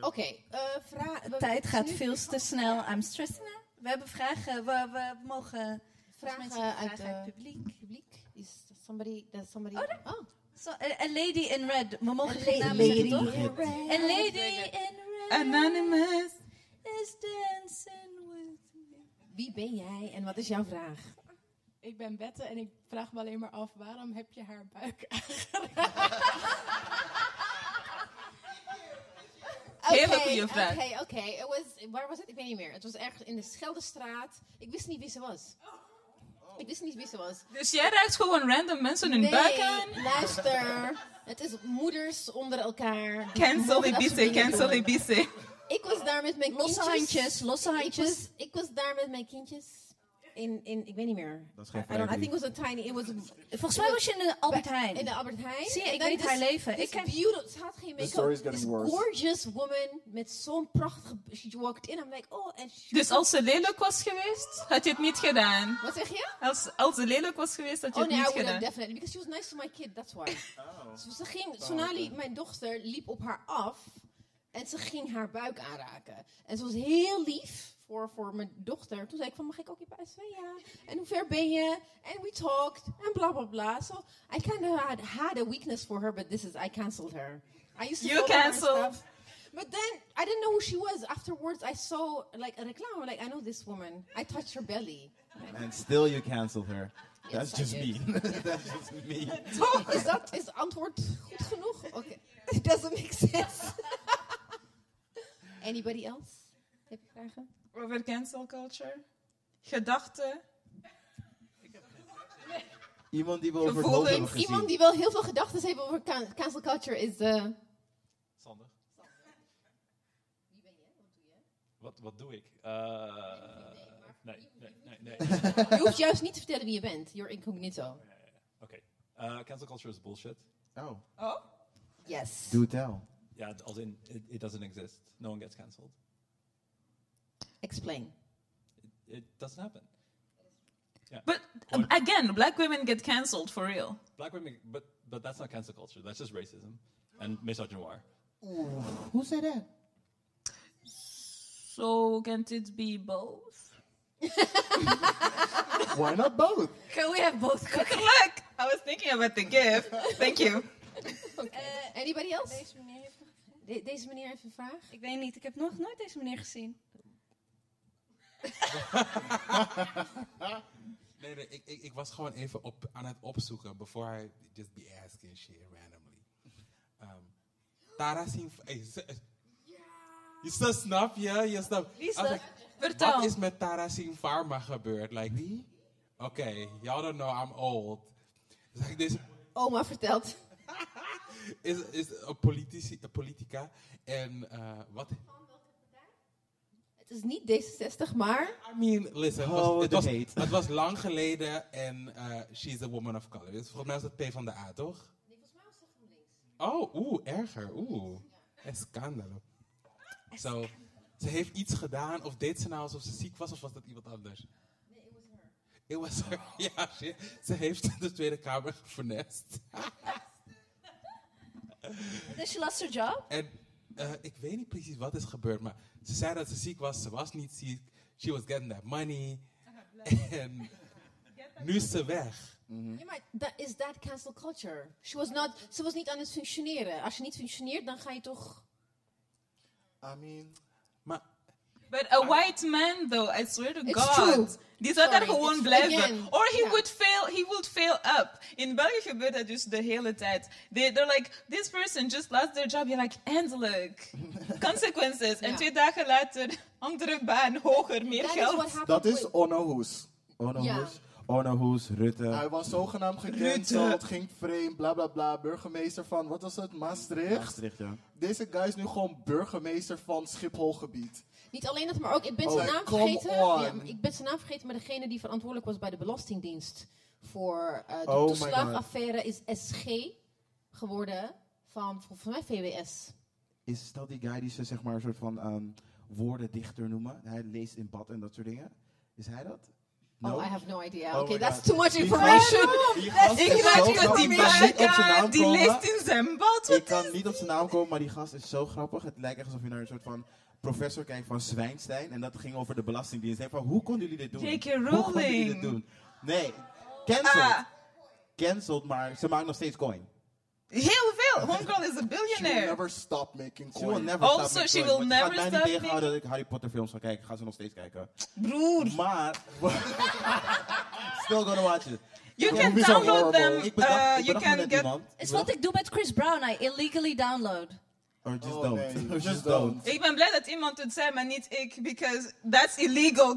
[SPEAKER 2] Oké, eh, vraag. we-
[SPEAKER 1] Tijd gaat
[SPEAKER 2] nu-
[SPEAKER 1] veel te snel. I'm stressing out. We hebben vragen. We, we mogen
[SPEAKER 2] Vragen
[SPEAKER 1] mensen vragen
[SPEAKER 2] uit,
[SPEAKER 1] uit,
[SPEAKER 2] eh,
[SPEAKER 1] het publiek.
[SPEAKER 2] publiek. Is somebody, does somebody...
[SPEAKER 1] Oh,
[SPEAKER 2] oh.
[SPEAKER 1] Zo, eh, a lady in red. We mogen
[SPEAKER 2] A
[SPEAKER 1] geen
[SPEAKER 2] lady
[SPEAKER 1] namen zeggen,
[SPEAKER 2] in
[SPEAKER 1] toch?
[SPEAKER 4] red.
[SPEAKER 1] A lady in red
[SPEAKER 5] Anonymous.
[SPEAKER 1] is dancing with me.
[SPEAKER 2] Wie ben jij en wat is jouw vraag?
[SPEAKER 11] Ik ben Bette en ik vraag me alleen maar af, waarom heb je haar buik
[SPEAKER 5] Hele
[SPEAKER 2] Oké,
[SPEAKER 5] goede vraag.
[SPEAKER 2] Oké, oké. Het was- Waar was het? Ik weet niet meer. Het was ergens in de Scheldestraat. Ik wist niet wie ze was.
[SPEAKER 5] Oh.
[SPEAKER 2] Ik wist niet wie ze was.
[SPEAKER 5] Dus jij raakt gewoon random mensen hun
[SPEAKER 2] nee,
[SPEAKER 5] buik aan?
[SPEAKER 2] luister. Het is moeders onder elkaar. Die
[SPEAKER 5] Cancel
[SPEAKER 2] mogen dat soort
[SPEAKER 5] Ibiza,
[SPEAKER 2] dingen
[SPEAKER 5] cancel
[SPEAKER 2] doen.
[SPEAKER 5] Ibiza.
[SPEAKER 2] Ik was daar met mijn
[SPEAKER 1] Losse
[SPEAKER 2] kindjes.
[SPEAKER 1] handjes, losse
[SPEAKER 2] Ik
[SPEAKER 1] handjes.
[SPEAKER 2] was, ik was daar met mijn kindjes. In, in, ik weet niet meer.
[SPEAKER 4] Dat is geen
[SPEAKER 2] I, don't, I
[SPEAKER 4] vrijbrief.
[SPEAKER 2] think it was a tiny, it was a,
[SPEAKER 1] Volgens mij was je in de Albert Heijn.
[SPEAKER 2] in de Albert Heijn.
[SPEAKER 1] Zie je,
[SPEAKER 2] En
[SPEAKER 1] ik
[SPEAKER 2] dan
[SPEAKER 1] weet
[SPEAKER 2] this-
[SPEAKER 1] haar leven.
[SPEAKER 2] this
[SPEAKER 1] Ik ken-
[SPEAKER 2] beautiful, ze had geen make-up.
[SPEAKER 3] story's getting
[SPEAKER 2] This
[SPEAKER 3] worse.
[SPEAKER 2] gorgeous woman met zo'n prachtige, she walked in, I'm like, oh, en she-
[SPEAKER 5] Dus als ze lelijk was geweest, had je het niet gedaan.
[SPEAKER 2] Wat zeg je?
[SPEAKER 5] Als, als ze lelijk was geweest, had je
[SPEAKER 2] Oh
[SPEAKER 5] het
[SPEAKER 2] nee, I
[SPEAKER 5] niet
[SPEAKER 2] would have
[SPEAKER 5] gedaan.
[SPEAKER 2] definitely, because she was nice to my kid, that's why. Ze- Ze ging, Sonali, mijn dochter, liep op haar af en ze ging haar buik aanraken. En ze was heel lief voor, voor mijn dochter. Toen zei ik van, mag ik ook je buik? Ze zei, ja. En hoe ver ben je? En we talked, en bla bla bla. So, I kind of had, had a weakness for her, but this is, I cancelled her. I used to follow
[SPEAKER 5] You
[SPEAKER 2] her
[SPEAKER 5] cancelled.
[SPEAKER 2] stuff. But then, I didn't know who she was. Afterwards, I saw, like, a reclame. Like, I know this woman. I touched her belly.
[SPEAKER 4] And still you canceled her. That's
[SPEAKER 2] I
[SPEAKER 4] just
[SPEAKER 2] did.
[SPEAKER 4] mean. That's just mean.
[SPEAKER 2] Is dat is het antwoord goed genoeg? Oké. It doesn't make sense. Anybody else? Heb je vragen?
[SPEAKER 5] Over cancel culture. Gedachten.
[SPEAKER 4] Iemand die we over het
[SPEAKER 5] Gevoelens.
[SPEAKER 4] hoofd hebben gezien.
[SPEAKER 2] Iemand die wel heel veel gedachten heeft over can- cancel culture is... eh,
[SPEAKER 12] Wat, wat doe ik? Eh, nee, nee, nee, nee.
[SPEAKER 2] Eh. Je hoeft juist niet te vertellen wie je bent. You're incognito.
[SPEAKER 12] Oké. Eh, cancel culture is bullshit.
[SPEAKER 4] Oh.
[SPEAKER 5] Oh?
[SPEAKER 2] Yes.
[SPEAKER 4] Do tell.
[SPEAKER 12] Ja, als in, it, it doesn't exist. No one gets cancelled.
[SPEAKER 2] Explain.
[SPEAKER 12] It doesn't happen.
[SPEAKER 5] But um, again, black women get cancelled for real.
[SPEAKER 12] Black women, but, but that's not cancel culture. That's just racism and misogynoir.
[SPEAKER 4] Who said that?
[SPEAKER 5] So can't it be both?
[SPEAKER 4] Why not both?
[SPEAKER 1] Can we have both?
[SPEAKER 5] Look, I was thinking about the gift. Thank you.
[SPEAKER 2] Anybody else?
[SPEAKER 1] Deze meneer, heeft-
[SPEAKER 2] De- deze meneer heeft een vraag.
[SPEAKER 1] ik weet niet, ik heb nog nooit deze meneer gezien.
[SPEAKER 7] Nee, nee ik, ik, ik was gewoon even op, aan het opzoeken before I just be asking shit randomly. Um, Tara zien. Hey, ze- eh, je snap- snap je? Je snapt. I was
[SPEAKER 5] Lisa,
[SPEAKER 7] like,
[SPEAKER 5] vertel.
[SPEAKER 7] Wat is met Tara Singh Pharma gebeurd? Like die? Oké, y'all don't know I'm old. Dus ik deze
[SPEAKER 2] Oma vertelt.
[SPEAKER 7] is, is een, politici, een politica. En eh, wat...
[SPEAKER 2] Het is niet D66, maar...
[SPEAKER 7] I mean, listen, het was,
[SPEAKER 4] Oh,
[SPEAKER 7] het was,
[SPEAKER 4] debate.
[SPEAKER 7] het was lang geleden en eh she's a woman of color. Dus volgens mij was het P van de A, toch? Oh, oeh, erger, oeh. Escandalo. Zo, ze heeft iets gedaan, of deed ze nou alsof ze ziek was, of was dat iemand anders? Nee, it was her. It was her, ja. Ze, ze heeft de Tweede Kamer gevernest.
[SPEAKER 1] Dus je lost her job?
[SPEAKER 7] En eh, ik weet niet precies wat is gebeurd, maar ze zei dat ze ziek was. Ze was niet ziek. She was getting that money. En nu is ze weg.
[SPEAKER 2] Ja, maar dat is dat cancel culture. She was not, ze was niet aan het functioneren. Als je niet functioneert, dan ga je toch...
[SPEAKER 3] I mean,
[SPEAKER 7] Maar
[SPEAKER 5] But a white man, though, I swear to
[SPEAKER 2] It's
[SPEAKER 5] God,
[SPEAKER 2] true.
[SPEAKER 5] die zou daar
[SPEAKER 2] Sorry,
[SPEAKER 5] gewoon
[SPEAKER 2] it's-
[SPEAKER 5] blijven.
[SPEAKER 2] again,
[SPEAKER 5] Or he
[SPEAKER 2] yeah.
[SPEAKER 5] would fail. He would fail up. In België gebeurt dat dus de hele tijd. They, they're like, this person just lost their job. You're like, eindelijk. Consequences. En
[SPEAKER 2] Ja.
[SPEAKER 5] twee dagen later, andere baan, hoger, meer
[SPEAKER 2] That is
[SPEAKER 5] geld.
[SPEAKER 2] what happened
[SPEAKER 3] dat is
[SPEAKER 2] with-
[SPEAKER 3] Onno Hoes.
[SPEAKER 4] Onno
[SPEAKER 2] Ja.
[SPEAKER 4] Hoes, Onno Hoes, Rutte.
[SPEAKER 3] Hij was zogenaamd gecanceld, ging vreemd, bla bla bla. Burgemeester van, wat was het, Maastricht?
[SPEAKER 4] Maastricht, ja.
[SPEAKER 3] Deze guy is nu gewoon burgemeester van Schipholgebied.
[SPEAKER 2] Niet alleen dat, maar ook... Ik ben
[SPEAKER 3] Oh,
[SPEAKER 2] zijn naam
[SPEAKER 3] come
[SPEAKER 2] vergeten.
[SPEAKER 3] on.
[SPEAKER 2] Ja, maar ik ben zijn naam vergeten, maar degene die verantwoordelijk was bij de Belastingdienst... voor eh, de
[SPEAKER 4] Oh my
[SPEAKER 2] toeslagaffaire is SG geworden van, volgens mij, VWS.
[SPEAKER 4] Is dat die guy die ze zeg maar een soort van ehm, woordendichter noemen? Hij leest in bad en dat soort dingen. Is hij dat? No?
[SPEAKER 2] Oh, I have no idea.
[SPEAKER 4] Oh
[SPEAKER 2] Oké,
[SPEAKER 4] my
[SPEAKER 2] that's
[SPEAKER 4] God.
[SPEAKER 2] too much
[SPEAKER 4] Die
[SPEAKER 2] information.
[SPEAKER 4] Die gast
[SPEAKER 5] Ik
[SPEAKER 4] is
[SPEAKER 5] weet
[SPEAKER 4] zo
[SPEAKER 5] niet wat die
[SPEAKER 4] grappig. Ik kan niet op zijn
[SPEAKER 5] baan
[SPEAKER 4] naam
[SPEAKER 5] die
[SPEAKER 4] komen.
[SPEAKER 5] leest in zijn bad.
[SPEAKER 4] Ik kan niet op zijn naam komen, maar die gast is zo grappig. Het lijkt echt alsof je naar een soort van professor kijkt van Zwijnstein. En dat ging over de Belastingdienst. Hij van, hoe konden jullie dit doen?
[SPEAKER 5] J.K.
[SPEAKER 4] Hoe konden jullie
[SPEAKER 5] Rowling.
[SPEAKER 4] dit doen? Nee, cancelled.
[SPEAKER 5] Ah,
[SPEAKER 4] Cancelled, maar ze maakt nog steeds coin.
[SPEAKER 5] heel veel. Homegirl is a
[SPEAKER 3] She will
[SPEAKER 5] billionaire.
[SPEAKER 3] never stop making
[SPEAKER 4] She will
[SPEAKER 3] coin.
[SPEAKER 4] never
[SPEAKER 5] Also,
[SPEAKER 4] stop making
[SPEAKER 5] she
[SPEAKER 4] coin.
[SPEAKER 5] will
[SPEAKER 4] Want
[SPEAKER 5] never
[SPEAKER 4] je gaat mij
[SPEAKER 5] stop
[SPEAKER 4] niet tegenhouden dat ik Harry Potter films ga kijken. Ik ga ze nog steeds kijken.
[SPEAKER 5] Broer.
[SPEAKER 4] Maar... Still gonna watch it.
[SPEAKER 5] You
[SPEAKER 4] Ik
[SPEAKER 5] can
[SPEAKER 4] bedacht-
[SPEAKER 5] download them.
[SPEAKER 4] Ik bedacht,
[SPEAKER 5] Uh,
[SPEAKER 4] ik
[SPEAKER 5] you
[SPEAKER 4] bedacht me
[SPEAKER 5] can
[SPEAKER 4] net
[SPEAKER 5] get...
[SPEAKER 4] iemand.
[SPEAKER 1] Is wat ik doe met Chris Brown, I illegally download.
[SPEAKER 4] Or just
[SPEAKER 3] Oh,
[SPEAKER 4] don't.
[SPEAKER 3] nee,
[SPEAKER 4] Or
[SPEAKER 3] just
[SPEAKER 4] just don't.
[SPEAKER 5] Ik ben blij dat iemand het zei, maar niet ik, because that's illegal,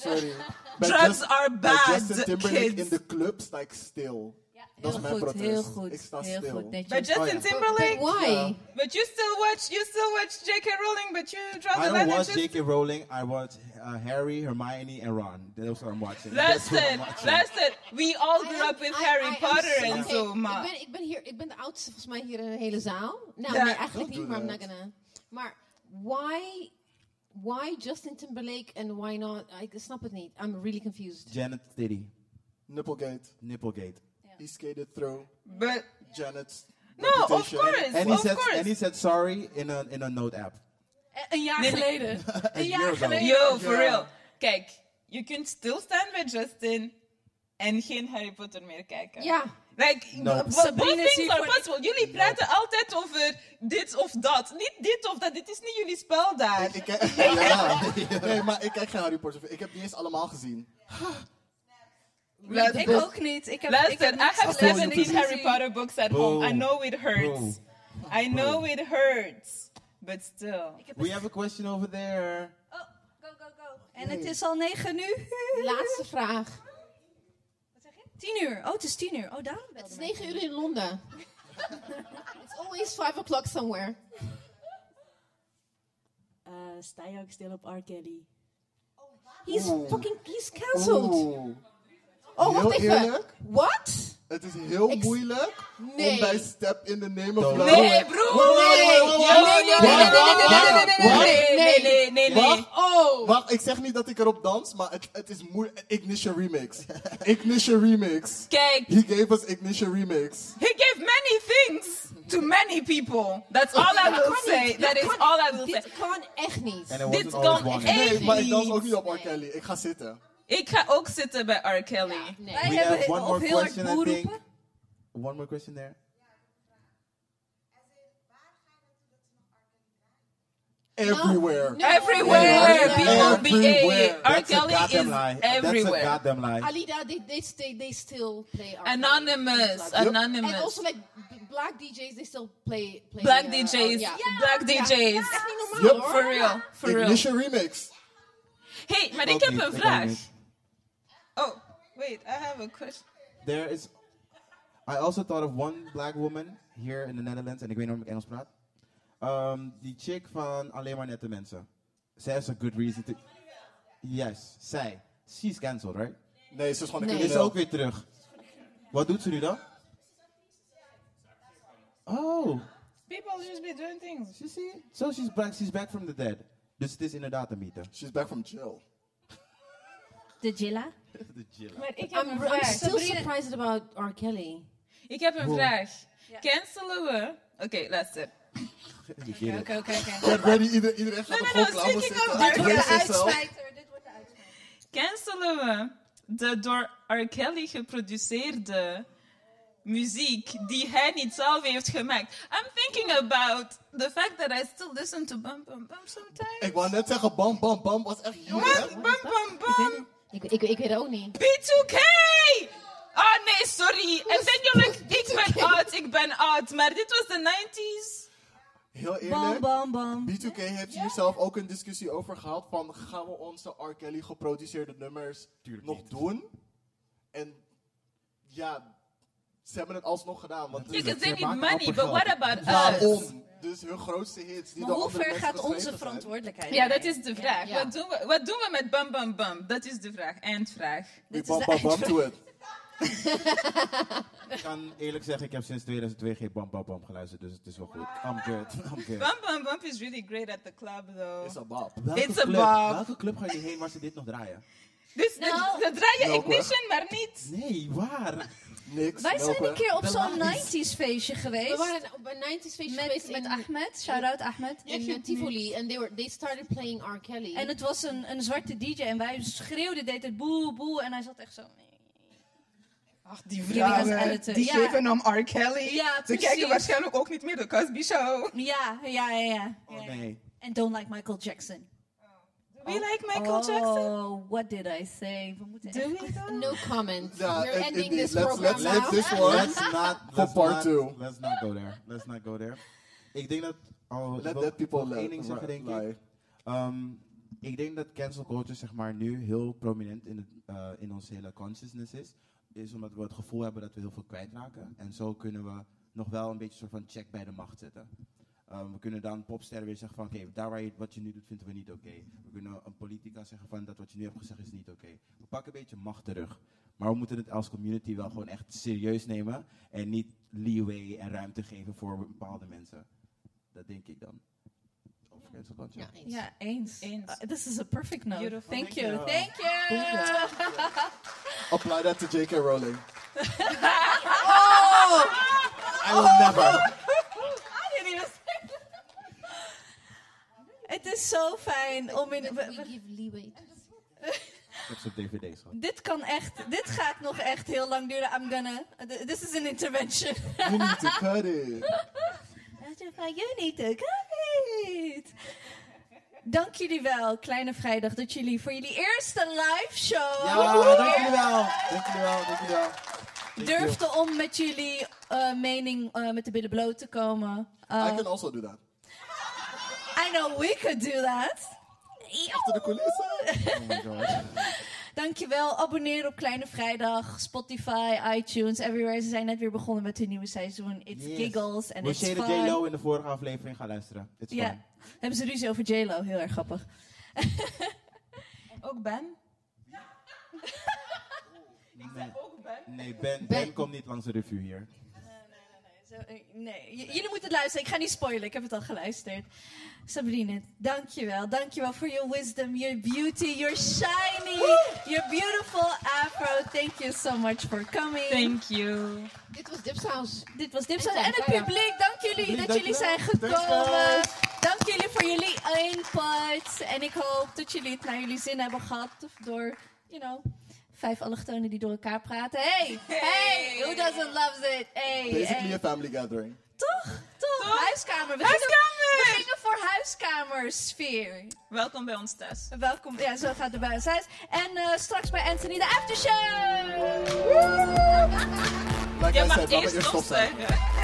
[SPEAKER 3] Sorry. Bij
[SPEAKER 5] Drugs
[SPEAKER 3] Just-
[SPEAKER 5] are
[SPEAKER 3] bij
[SPEAKER 5] bad,
[SPEAKER 3] Justin Timberlake
[SPEAKER 5] kids.
[SPEAKER 3] in de club sta ik stil. dat is mijn
[SPEAKER 1] goed,
[SPEAKER 3] protest.
[SPEAKER 1] heel goed.
[SPEAKER 3] Ik sta
[SPEAKER 1] heel
[SPEAKER 3] stil.
[SPEAKER 1] goed, netjes.
[SPEAKER 5] But Justin
[SPEAKER 3] Oh, ja.
[SPEAKER 5] Timberlake,
[SPEAKER 2] But why?
[SPEAKER 3] Ja.
[SPEAKER 5] but you still watch, you still watch J.K. Rowling, but you draw
[SPEAKER 4] I
[SPEAKER 5] the
[SPEAKER 4] don't
[SPEAKER 5] line at
[SPEAKER 4] watch
[SPEAKER 5] just...
[SPEAKER 4] J.K. Rowling. I watch uh, Harry, Hermione, and Ron. Those are I'm watching.
[SPEAKER 5] That's
[SPEAKER 4] what
[SPEAKER 5] it,
[SPEAKER 4] I'm watching.
[SPEAKER 5] that's it. We all
[SPEAKER 2] I
[SPEAKER 5] grew
[SPEAKER 2] am-
[SPEAKER 5] up with
[SPEAKER 2] I- I
[SPEAKER 5] Harry
[SPEAKER 2] am
[SPEAKER 5] Potter
[SPEAKER 2] so-
[SPEAKER 5] en
[SPEAKER 2] Oké,
[SPEAKER 5] zo, maar...
[SPEAKER 2] Ik ben, ik, ben hier, ik ben de oudste volgens mij hier in de hele zaal. Nou,
[SPEAKER 5] Ja.
[SPEAKER 2] nee, eigenlijk
[SPEAKER 3] Don't
[SPEAKER 2] niet,
[SPEAKER 3] do
[SPEAKER 2] maar I'm not
[SPEAKER 3] that.
[SPEAKER 2] gonna. Maar why, why Justin Timberlake en why not? Ik snap het niet. I'm really confused.
[SPEAKER 4] Janet Stiddy.
[SPEAKER 3] Nipplegate.
[SPEAKER 4] Nipplegate.
[SPEAKER 3] He skated through
[SPEAKER 5] But,
[SPEAKER 3] Janet's
[SPEAKER 5] no, of
[SPEAKER 3] reputation.
[SPEAKER 5] course,
[SPEAKER 4] And he,
[SPEAKER 5] of
[SPEAKER 4] said, and he
[SPEAKER 5] course.
[SPEAKER 4] said sorry in a, in a note app.
[SPEAKER 1] Eh, Een jaar geleden. Een jaar
[SPEAKER 4] year ago.
[SPEAKER 1] geleden.
[SPEAKER 5] Yo, for real. Kijk, je kunt stilstaan bij Justin en geen Harry Potter meer kijken.
[SPEAKER 2] Ja,
[SPEAKER 5] Like,
[SPEAKER 4] No.
[SPEAKER 5] what- what
[SPEAKER 1] Sabrina is
[SPEAKER 5] things
[SPEAKER 1] hier
[SPEAKER 5] are
[SPEAKER 1] voor-
[SPEAKER 5] possible. Jullie praten altijd over dit of dat. Niet dit of dat, dit is niet jullie spel daar.
[SPEAKER 3] Ik kijk, ja. Nee, maar ik kijk geen Harry Potter. film. Ik heb niet eens allemaal gezien.
[SPEAKER 1] Ik ook niet. Ik heb, ik
[SPEAKER 5] Luister,
[SPEAKER 1] heb
[SPEAKER 5] I
[SPEAKER 1] niks
[SPEAKER 5] have
[SPEAKER 1] gezien.
[SPEAKER 5] 17 Harry Potter books at home. I
[SPEAKER 4] Bro.
[SPEAKER 5] know it hurts. I know it hurts. But still.
[SPEAKER 1] Ik heb
[SPEAKER 4] We have a question over there.
[SPEAKER 1] Oh, go, go, go. En het is al negen uur.
[SPEAKER 2] laatste vraag.
[SPEAKER 1] Tien uur. Oh, het is tien uur. Oh, daarom
[SPEAKER 2] Het
[SPEAKER 1] belde
[SPEAKER 2] is
[SPEAKER 1] mij.
[SPEAKER 2] 9 uur in Londen. It's always 5 o'clock somewhere.
[SPEAKER 8] Eh, sta je ook stil op R. Kelly.
[SPEAKER 10] He's
[SPEAKER 3] Oeh.
[SPEAKER 10] fucking, he's cancelled. Oh,
[SPEAKER 3] Heel
[SPEAKER 10] wacht even.
[SPEAKER 3] eerlijk?
[SPEAKER 10] What?
[SPEAKER 3] Het is heel
[SPEAKER 10] Ik-
[SPEAKER 3] moeilijk
[SPEAKER 10] Nee.
[SPEAKER 3] om bij Step in the Name of Love...
[SPEAKER 5] Nee, broer, nee. Ja, nee, nee, nee, nee, nee, nee, nee, nee, nee, nee, nee, nee, nee.
[SPEAKER 3] Wacht.
[SPEAKER 5] Oh.
[SPEAKER 3] Wacht, ik zeg niet dat ik erop dans, maar het, het is moeilijk. Ignition Remix. Ignition Remix.
[SPEAKER 5] Kijk,
[SPEAKER 3] He gave us Ignition Remix.
[SPEAKER 5] he gave many things to many people. That's all I will say. That is all I will say.
[SPEAKER 10] Dit kan echt niet.
[SPEAKER 4] And it
[SPEAKER 5] Dit
[SPEAKER 4] wasn't always
[SPEAKER 5] kan
[SPEAKER 4] one.
[SPEAKER 3] Nee, maar ik
[SPEAKER 5] echt
[SPEAKER 3] dans
[SPEAKER 5] niet.
[SPEAKER 3] ook niet op R. Kelly. Ik ga zitten.
[SPEAKER 5] Ik ga ook zitten bij R. Kelly.
[SPEAKER 10] Nee.
[SPEAKER 1] Wij
[SPEAKER 4] We
[SPEAKER 1] hebben
[SPEAKER 4] have one
[SPEAKER 1] of
[SPEAKER 4] more
[SPEAKER 1] heel hard
[SPEAKER 4] question, I
[SPEAKER 1] boe
[SPEAKER 4] think.
[SPEAKER 1] roepen.
[SPEAKER 4] One more question there.
[SPEAKER 1] Oh,
[SPEAKER 3] Everywhere.
[SPEAKER 10] Nee.
[SPEAKER 5] Everywhere,
[SPEAKER 10] Nee.
[SPEAKER 5] B-O-B-A.
[SPEAKER 3] Everywhere.
[SPEAKER 5] R.
[SPEAKER 4] That's a
[SPEAKER 5] Kelly
[SPEAKER 4] goddamn lie.
[SPEAKER 5] is
[SPEAKER 4] That's a
[SPEAKER 5] everywhere.
[SPEAKER 4] goddamn lie.
[SPEAKER 10] Alida, they, they, stay, they still play R.
[SPEAKER 5] Anonymous,
[SPEAKER 10] Like-
[SPEAKER 5] anonymous.
[SPEAKER 10] And also like b- black DJs, they still play. play
[SPEAKER 5] Black
[SPEAKER 10] uh, uh,
[SPEAKER 2] Oh,
[SPEAKER 5] DJs,
[SPEAKER 10] yeah.
[SPEAKER 5] black DJs.
[SPEAKER 3] Yep.
[SPEAKER 5] For real, for real.
[SPEAKER 3] Ignition Remix.
[SPEAKER 5] Hey, maar ik heb
[SPEAKER 4] niet,
[SPEAKER 5] een
[SPEAKER 4] ik ook
[SPEAKER 5] vraag.
[SPEAKER 4] niet.
[SPEAKER 5] Oh, wait, I have a question.
[SPEAKER 4] There is. I also thought of one black woman here in the Netherlands, en ik weet niet of ik Engels praat. Um, die chick van Alleen maar Nette Mensen. Zij is a good reason to. Yes, zij. She's cancelled, right?
[SPEAKER 3] Nee, ze is gewoon een
[SPEAKER 10] Nee.
[SPEAKER 4] Is
[SPEAKER 3] crimineel.
[SPEAKER 4] ze ook weer terug. Wat doet ze nu dan? Oh,
[SPEAKER 5] People just be doing things.
[SPEAKER 4] you see? So she's back, she's back from the dead. Dus het is inderdaad een mythe.
[SPEAKER 3] She's back from jail.
[SPEAKER 1] De Jilla.
[SPEAKER 5] Maar ik heb
[SPEAKER 10] I'm,
[SPEAKER 5] een
[SPEAKER 10] I'm
[SPEAKER 5] vraag.
[SPEAKER 10] still surprised about R. Kelly.
[SPEAKER 5] Ik heb een vraag. Cancelen we... Oké, luister.
[SPEAKER 4] You get it.
[SPEAKER 5] Oké, oké, oké.
[SPEAKER 3] Get ready, ieder- iedereen gaat op
[SPEAKER 5] nee,
[SPEAKER 3] gewoon klaar
[SPEAKER 5] speaking of
[SPEAKER 3] zitten.
[SPEAKER 5] R.
[SPEAKER 3] Brace yourself.
[SPEAKER 1] Dit wordt de uitspraak.
[SPEAKER 5] Cancelen we de door R. Kelly geproduceerde muziek die hij niet zelf heeft gemaakt? I'm thinking about the fact that I still listen to Bum Bum Bum sometimes.
[SPEAKER 3] Ik wou net zeggen, bam, bam, bam. Was echt heel erg.
[SPEAKER 5] Bum Bum Bum!
[SPEAKER 10] Ik, ik, ik weet het ook niet.
[SPEAKER 5] B2K! Oh nee, sorry. En dan jullie, ik ben oud, ik ben oud. Maar dit was de 90s.
[SPEAKER 3] Heel
[SPEAKER 1] Bam,
[SPEAKER 3] eerlijk.
[SPEAKER 1] bam, bam.
[SPEAKER 3] B2K heeft hier zelf ook een discussie over gehad van gaan we onze R. Kelly geproduceerde nummers nog doen? En ja, ze hebben het alsnog gedaan. Want
[SPEAKER 5] You
[SPEAKER 3] het
[SPEAKER 5] can
[SPEAKER 3] is
[SPEAKER 5] they need
[SPEAKER 4] maken
[SPEAKER 5] money, but
[SPEAKER 4] appel
[SPEAKER 5] what about us?
[SPEAKER 3] daarom. Dus hun grootste hits die
[SPEAKER 1] Maar
[SPEAKER 3] door
[SPEAKER 1] hoe
[SPEAKER 3] andere
[SPEAKER 1] ver
[SPEAKER 3] mensen
[SPEAKER 1] gaat onze
[SPEAKER 3] geschreven zijn.
[SPEAKER 1] verantwoordelijkheid?
[SPEAKER 5] Ja, dat is de vraag.
[SPEAKER 10] Ja.
[SPEAKER 5] Wat, doen we, wat doen we met Bam Bam Bam? Dat is de vraag. Eindvraag.
[SPEAKER 3] We
[SPEAKER 1] Dit is de
[SPEAKER 3] bump, bump, bump to it.
[SPEAKER 4] Ik kan eerlijk zeggen, ik heb sinds 2002 geen Bam Bam Bam geluisterd, dus het is wel goed. I'm good, I'm good.
[SPEAKER 5] Bam Bam Bam is really great at the club, though.
[SPEAKER 3] Is a bop.
[SPEAKER 4] Welke
[SPEAKER 5] It's a
[SPEAKER 4] club-
[SPEAKER 5] bop.
[SPEAKER 4] Welke club ga je heen waar ze dit nog draaien?
[SPEAKER 5] Dus dat
[SPEAKER 1] Nou-
[SPEAKER 5] dat draai je
[SPEAKER 3] Welke?
[SPEAKER 5] ignition, maar niet.
[SPEAKER 4] Nee, waar?
[SPEAKER 3] Niks.
[SPEAKER 1] Wij zijn een
[SPEAKER 3] melkweg.
[SPEAKER 1] keer op
[SPEAKER 4] De
[SPEAKER 1] zo'n
[SPEAKER 4] laatste.
[SPEAKER 1] 90s feestje
[SPEAKER 10] We
[SPEAKER 1] geweest.
[SPEAKER 10] waren op een 90s feestje geweest
[SPEAKER 1] Met,
[SPEAKER 10] in,
[SPEAKER 1] met Ahmed. Shout-out Ahmed.
[SPEAKER 10] in eh, Tivoli. En they, were, they started playing R. Kelly.
[SPEAKER 1] En het was een, een zwarte DJ en wij schreeuwden, deed het boe, boe. En hij zat echt zo.
[SPEAKER 5] Ach, die
[SPEAKER 1] vrouwen, Jullie gaan editen, die ja. geven
[SPEAKER 5] om R. Kelly.
[SPEAKER 1] Ja, Ze precies. kijken
[SPEAKER 5] waarschijnlijk ook niet meer de Cosby Show.
[SPEAKER 1] Ja, ja, ja, ja.
[SPEAKER 4] Oh nee.
[SPEAKER 1] En don't like Michael Jackson.
[SPEAKER 5] We like Michael Jackson.
[SPEAKER 1] Oh, what did I say? We moeten
[SPEAKER 5] Do
[SPEAKER 1] echt-
[SPEAKER 5] we though?
[SPEAKER 10] no comment.
[SPEAKER 3] Ja,
[SPEAKER 10] We're
[SPEAKER 3] en-
[SPEAKER 10] ending
[SPEAKER 3] indeed.
[SPEAKER 10] this
[SPEAKER 3] Let's-
[SPEAKER 10] program
[SPEAKER 3] let's-
[SPEAKER 10] now.
[SPEAKER 3] let's this one.
[SPEAKER 4] Let's not.
[SPEAKER 3] For
[SPEAKER 4] Let's
[SPEAKER 3] part
[SPEAKER 4] not-
[SPEAKER 3] two.
[SPEAKER 4] Let's not go there. Let's not go there. Ik denk dat. Oh, ik
[SPEAKER 3] Let
[SPEAKER 4] wil-
[SPEAKER 3] dead people
[SPEAKER 4] ik wil één
[SPEAKER 3] li-
[SPEAKER 4] ding zeggen,
[SPEAKER 3] lie.
[SPEAKER 4] denk ik. Ehm, ik denk dat cancel culture zeg maar, nu heel prominent in, het, eh, in onze hele consciousness is. Is omdat we het gevoel hebben dat we heel veel kwijtraken. En zo kunnen we nog wel een beetje soort van check bij de macht zetten. Ehm, we kunnen dan popsterren weer zeggen van oké, daar waar je, wat je nu doet vinden we niet oké. We kunnen een politica zeggen van dat wat je nu hebt gezegd is niet oké. We pakken een beetje macht terug. Maar we moeten het als community wel gewoon echt serieus nemen. En niet leeway en ruimte geven voor bepaalde mensen. Dat denk ik dan. Over cancel culture.
[SPEAKER 10] Ja, eens.
[SPEAKER 1] Ja, eens.
[SPEAKER 5] Eens.
[SPEAKER 1] Uh, this is a perfect note.
[SPEAKER 5] Beautiful.
[SPEAKER 1] Thank,
[SPEAKER 4] Thank
[SPEAKER 1] you.
[SPEAKER 4] you.
[SPEAKER 1] Thank you.
[SPEAKER 3] Apply that to J.K. Rowling. I will never.
[SPEAKER 1] Het is zo fijn om in... we-
[SPEAKER 10] We
[SPEAKER 1] we-
[SPEAKER 10] give leeway.
[SPEAKER 4] Ik heb ze op dvd's gehad.
[SPEAKER 1] dit kan echt... Dit gaat nog echt heel lang duren. I'm gonna... th- This is an intervention.
[SPEAKER 3] You need to cut it.
[SPEAKER 1] You need to it. Dank jullie wel, Kleine Vrijdag, dat jullie voor jullie eerste live show...
[SPEAKER 4] Ja, dank jullie wel. Dank jullie wel, dank jullie wel.
[SPEAKER 1] durfde om met jullie eh, mening eh, met de billen bloot te komen.
[SPEAKER 4] Ah,
[SPEAKER 1] Eh,
[SPEAKER 3] I can also do that.
[SPEAKER 1] I know we could do that.
[SPEAKER 3] Achter de coulissen.
[SPEAKER 4] Oh my god.
[SPEAKER 1] Dankjewel. Abonneer op Kleine Vrijdag, Spotify, iTunes, everywhere. Ze zijn net weer begonnen met hun nieuwe seizoen. It's
[SPEAKER 4] Yes.
[SPEAKER 1] giggles en
[SPEAKER 4] Moet
[SPEAKER 1] it's
[SPEAKER 4] je de
[SPEAKER 1] fun.
[SPEAKER 4] J-Lo in de vorige aflevering gaan luisteren. It's
[SPEAKER 1] Ja,
[SPEAKER 4] fun.
[SPEAKER 1] hebben ze ruzie over J-Lo. Heel erg grappig. ook Ben.
[SPEAKER 4] Ik zei ook Ben. Nee, ben, ben komt niet langs de revue hier.
[SPEAKER 1] Zo, eh, Nee, J- jullie moeten het luisteren. Ik ga niet spoilen. Ik heb het al geluisterd. Sabrine, dankjewel. Dankjewel voor your wisdom, your beauty, your shiny, your beautiful afro. Thank you so much for coming.
[SPEAKER 5] Thank you.
[SPEAKER 2] Dit was Dipsaus.
[SPEAKER 1] Dit was Dipsaus. En
[SPEAKER 2] En
[SPEAKER 1] het
[SPEAKER 2] Clara.
[SPEAKER 1] publiek, dank jullie
[SPEAKER 2] Publiek,
[SPEAKER 1] dat jullie zijn
[SPEAKER 2] dankjewel.
[SPEAKER 1] gekomen.
[SPEAKER 2] Dankjewel.
[SPEAKER 1] Dank jullie voor jullie input. En ik hoop dat jullie het naar jullie zin hebben gehad. Of door, you know, vijf allochtonen die door elkaar praten. Hey, hey, who doesn't love it? Hey,
[SPEAKER 3] Basically
[SPEAKER 1] hey.
[SPEAKER 3] a family gathering.
[SPEAKER 1] Toch? Toch? Huiskamer. We Gingen,
[SPEAKER 5] Huiskamer!
[SPEAKER 1] we gingen voor huiskamersfeer.
[SPEAKER 5] Welkom bij ons thuis.
[SPEAKER 1] Welkom. Ja, zo gaat de buis huis. En eh, straks bij Anthony de aftershow.
[SPEAKER 3] Like
[SPEAKER 5] Je
[SPEAKER 3] I said,
[SPEAKER 5] mag
[SPEAKER 3] laten we eerst
[SPEAKER 5] eerst nog
[SPEAKER 3] stopzetten.
[SPEAKER 5] zeggen.